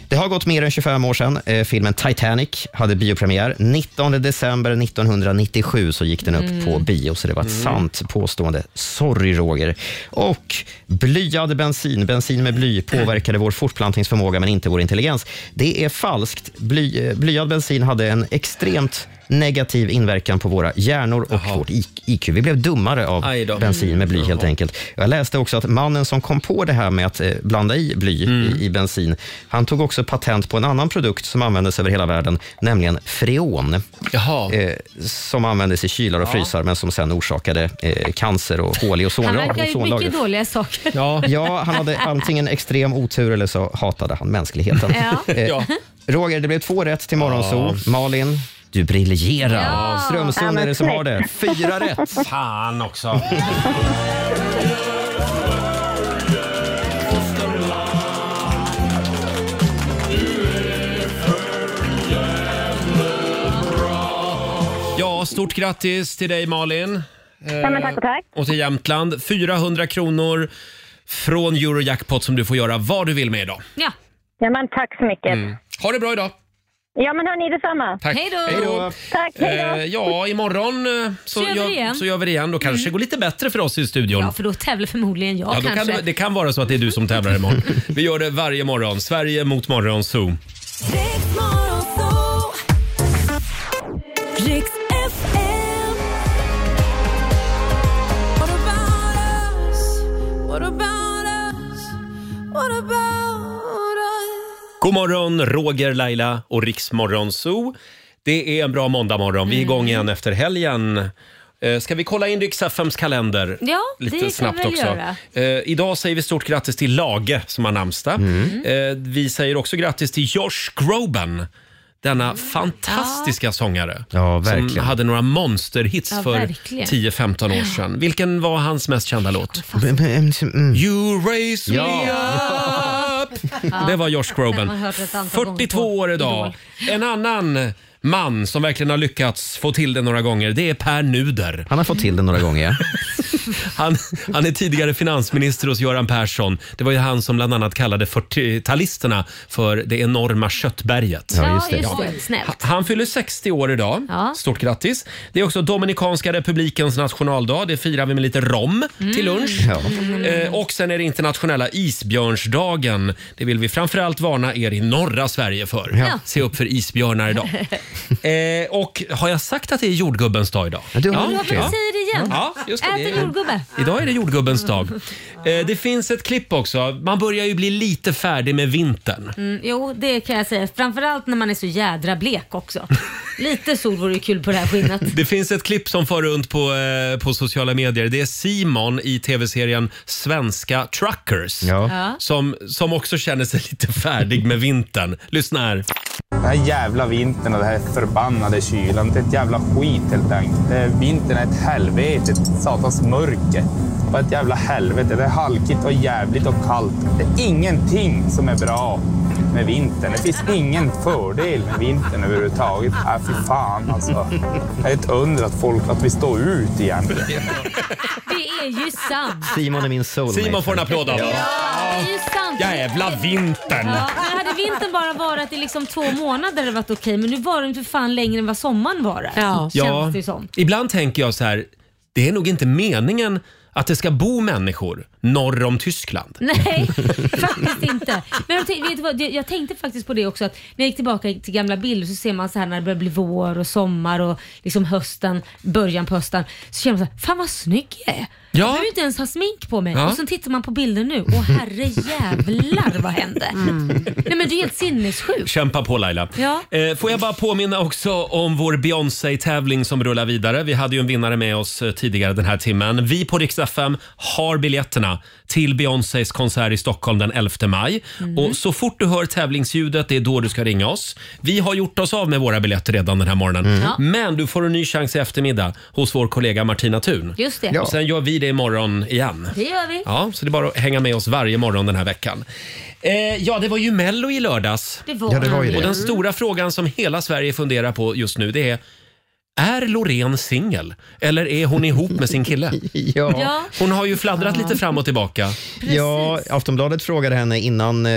S3: Det har gått mer än 25 år sedan eh, filmen Titanic hade biopremiär. 19 december 1997 så gick den upp
S4: Mm.
S3: på bio, så det var ett
S4: Mm.
S3: sant påstående. Sorry, Roger. Och blyad bensin, bensin med bly, påverkade vår fortplantningsförmåga men inte vår intelligens. Det är falskt. Bly, eh, blyad bensin hade en extremt negativ inverkan på våra hjärnor och vårt IQ. Vi blev dummare av
S1: Aj då.
S3: bensin med bly helt
S1: Jaha.
S3: enkelt. Jag läste också att mannen som kom på det här med att eh, blanda i bly
S2: Mm.
S3: i, i bensin, han tog också patent på en annan produkt som användes över hela världen, nämligen freon. Eh, som användes i kylar och
S2: Ja.
S3: frysar men som sen orsakade eh, cancer och hål i
S2: Han
S3: ozonla-
S2: verkar ha gjort
S3: ozonlagret.
S2: mycket dåliga saker.
S1: Ja.
S3: Ja, han hade antingen extrem otur eller så hatade han mänskligheten.
S2: Ja.
S3: Eh,
S2: Ja.
S3: Roger, det blev två rätt till Morgonzoo. Malin, du briljerar.
S4: Ja. Ja,
S3: Strömsund
S4: men
S3: är det som har det.
S4: snyggt.
S3: Fyra rätt.
S1: Fan också. Ja, stort grattis till dig Malin. Eh.
S8: Ja, men tack och tack.
S1: Och till Jämtland. 400 kronor från Eurojackpot som du får göra vad du vill med idag.
S2: Ja.
S8: ja, men tack så mycket.
S1: Mm. Ha det bra idag.
S8: Ja, men hörni, detsamma.
S1: Tack. Hej då. Hej då.
S8: Tack, hej då.
S1: Eh, ja, imorgon eh,
S2: Så
S1: så,
S2: gör vi det
S1: gör,
S2: igen.
S1: så gör vi det igen. Då kanske det går lite bättre för oss i studion.
S2: Ja, för då tävlar förmodligen jag
S1: Ja, då kan
S2: kanske.
S1: det, det kan vara så att det är du som tävlar imorgon. Vi gör det varje morgon. Sverige mot Morgonzoo.
S7: Riks FM. What about us? What about us? What about us?
S1: God morgon, Roger, Laila och Riksmorgonzoo. Det är en bra måndagmorgon. Vi är
S2: Mm.
S1: igång igen efter helgen. Eh, Ska vi kolla in Rix FMs kalender?
S2: Ja,
S1: Lite
S2: det kan vi
S1: snabbt
S2: väl
S1: också.
S2: göra.
S1: Eh, idag säger vi stort grattis till Lage som har namnsdag.
S2: Mm.
S1: Eh, vi säger också grattis till Josh Groban. Denna fantastiska sångare som
S3: verkligen.
S1: hade några monsterhits
S3: Ja,
S1: för
S3: verkligen.
S1: 10-15 år sedan. Vilken var hans mest kända låt? You raise me up. Det var Josh
S2: Den har
S1: Groban.
S2: jag hört ett antal gånger
S1: 42 år idag. En annan man som verkligen har lyckats få till det några gånger, det är Per Nuder.
S3: Han har fått till det några gånger.
S1: Han, han är tidigare finansminister hos Göran Persson. Det var ju han som bland annat kallade 40-talisterna för det enorma köttberget.
S2: Ja, just det. Snällt.
S1: Han fyller 60 år idag. Stort grattis. Det är också Dominikanska republikens nationaldag. Det firar vi med lite rom till lunch. Eh, och sen är det internationella isbjörnsdagen. Det vill vi framförallt varna er i norra Sverige för.
S4: Ja.
S1: Se upp för isbjörnar idag. eh, och har jag sagt att det är jordgubbens dag idag?
S3: du
S2: Ja, men vi säger det igen.
S1: Ja, just det.
S2: Ät en jordgubbe.
S1: Idag är det jordgubbens dag. Eh, det finns ett klipp också. Man börjar ju bli lite färdig med vintern.
S2: Mm, jo, det kan jag säga. Framförallt när man är så jädra blek också. Lite sol vore ju kul på det här skinnet.
S1: Det finns ett klipp som far runt på, eh, på sociala medier. Det är Simon i tv-serien Svenska Truckers
S4: Ja.
S1: som, som också känner sig lite färdig med vintern. Lyssna här.
S14: Den här jävla vintern och den här förbannade kylan. Det är ett jävla skit helt enkelt. Det är- Vintern är ett helvete, ett satans mörker. Bara ett jävla helvete. Det är halkigt och jävligt och kallt. Det är ingenting som är bra med vintern. Det finns ingen fördel med vintern överhuvudtaget. Äh, fy fan alltså. Det är ett under att folk, att vi står ut egentligen.
S2: Det är ju sant.
S3: Simon är min soulmate.
S1: Simon får en applåd av oss.
S2: Det är ju sant.
S1: Jävla vintern!
S2: Ja, men hade vintern bara varit i liksom två månader hade det varit okej, men nu var den för fan längre än vad sommaren varar. Ja. Känns det ju som.
S1: Ibland tänker jag så här, det är nog inte meningen att det ska bo människor norr om Tyskland.
S2: Nej, faktiskt inte. Men jag, tänkte, vet du vad, jag- jag tänkte faktiskt på det också att när jag gick tillbaka till gamla bilder så ser man så här när det börjar bli vår och sommar och liksom hösten, början på hösten. Så känner man så här, fan vad snygg jag är.
S7: Ja.
S2: Jag behöver ju inte ens ha smink på mig.
S7: Ja.
S2: Och så tittar man på bilder nu och herre jävlar vad hände? Nej men det är helt sinnessjukt.
S1: Kämpa på Laila.
S2: Ja.
S1: Eh, får jag bara påminna också om vår Beyoncé-tävling som rullar vidare. Vi hade ju en vinnare med oss eh, tidigare den här timmen. Vi på Rix FM har biljetterna till Beyoncés konsert i Stockholm den 11 maj.
S9: Mm.
S1: Och så fort du hör tävlingsljudet, det är då du ska ringa oss. Vi har gjort oss av med våra biljetter redan den här morgonen.
S2: Mm. Ja.
S1: Men du får en ny chans i eftermiddag hos vår kollega Martina Thun.
S2: Just det. Ja.
S1: Och sen gör vi det imorgon igen.
S2: Det gör vi.
S1: Ja, så det är bara att hänga med oss varje morgon den här veckan. Eh, ja, det var ju Mello i lördags.
S2: Det var Ja, det var ju det.
S1: Och den
S2: Mm.
S1: stora frågan som hela Sverige funderar på just nu det är är Loreen singel eller är hon ihop med sin kille?
S3: Ja.
S1: Hon har ju fladdrat lite fram och tillbaka.
S3: Ja, Aftonbladet frågade henne innan, eh,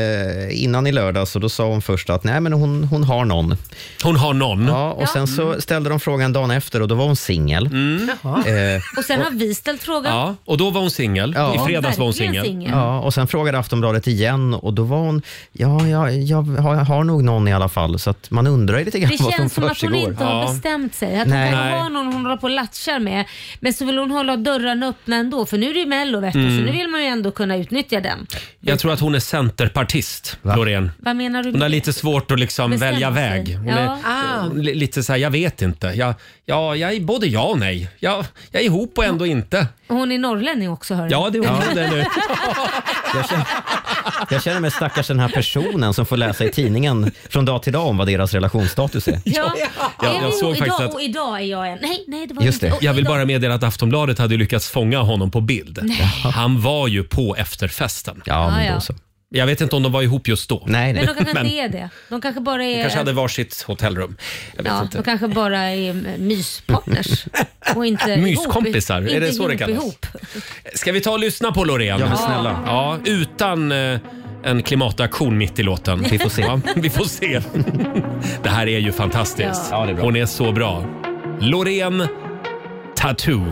S3: innan i lördags och då sa hon först att nej, men hon, hon har någon.
S1: Hon har någon?
S3: Ja, och
S2: Ja.
S3: sen
S4: Mm.
S3: så ställde de frågan dagen efter och då var hon singel.
S1: Mm.
S3: Eh,
S2: Och sen har vi ställt frågan.
S1: och då var hon singel.
S2: I fredags var hon Verkligen singel. singel.
S3: Ja, och sen frågade Aftonbladet igen och då var hon, ja, ja jag har, har nog någon i alla fall. Så att man undrar ju lite grann
S2: Det
S3: vad som
S2: känns som att hon
S3: försiggår.
S2: inte har bestämt sig. Att
S3: Nej.
S2: hon kanske
S3: Nej.
S2: har någon hon håller på och latchar med. Men så vill hon hålla dörrarna öppna ändå. För nu är det ju Mello vet du,
S1: Mm.
S2: så nu vill man ju ändå kunna utnyttja den.
S1: Jag tror att hon är centerpartist, Loreen.
S2: Vad menar du
S1: Hon har
S2: med
S1: lite svårt att liksom
S2: Bestämma
S1: välja
S2: sig.
S1: väg. Hon är,
S2: Ja. Ah.
S1: eh, li- lite så här, jag vet inte. Jag, ja, jag är både ja och nej. Jag, jag är ihop och ändå inte.
S2: Hon är norrlänning också hör
S1: Ja, det är hon. Det är nu.
S3: Jag känner, jag känner mig stackars den här personen som får läsa i tidningen från dag till dag om vad deras relationsstatus är.
S2: Ja,
S1: jag
S2: Är vi-
S1: såg
S2: och
S1: faktiskt
S2: idag,
S1: att-
S2: och idag är jag en. Nej, nej det var
S1: Just
S2: inte.
S1: det.
S2: Och
S1: Jag vill
S2: idag-
S1: bara meddela att Aftonbladet hade lyckats fånga honom på bild.
S2: Nej.
S1: Han var ju på efterfesten.
S2: Ja, men Ja, ja. då så.
S1: Jag vet inte om de var ihop just då.
S3: Nej,
S2: Men de kanske inte är det. De kanske bara är...
S1: kanske hade varsitt hotellrum. Jag vet
S2: ja,
S1: inte.
S2: de kanske bara är eh, myspartners. och inte ihop.
S1: Myskompisar, är
S2: inte
S1: det så det
S2: ihop,
S1: kallas?
S2: Ihop.
S1: Ska vi ta och lyssna på Loreen?
S2: Ja, men snälla.
S1: Ja, utan eh, en klimataktion mitt i låten.
S3: Vi får se.
S1: Ja, vi får se. Det här är ju fantastiskt.
S3: Ja. Ja, det är bra.
S1: Hon är så bra. Loreen Tattoo.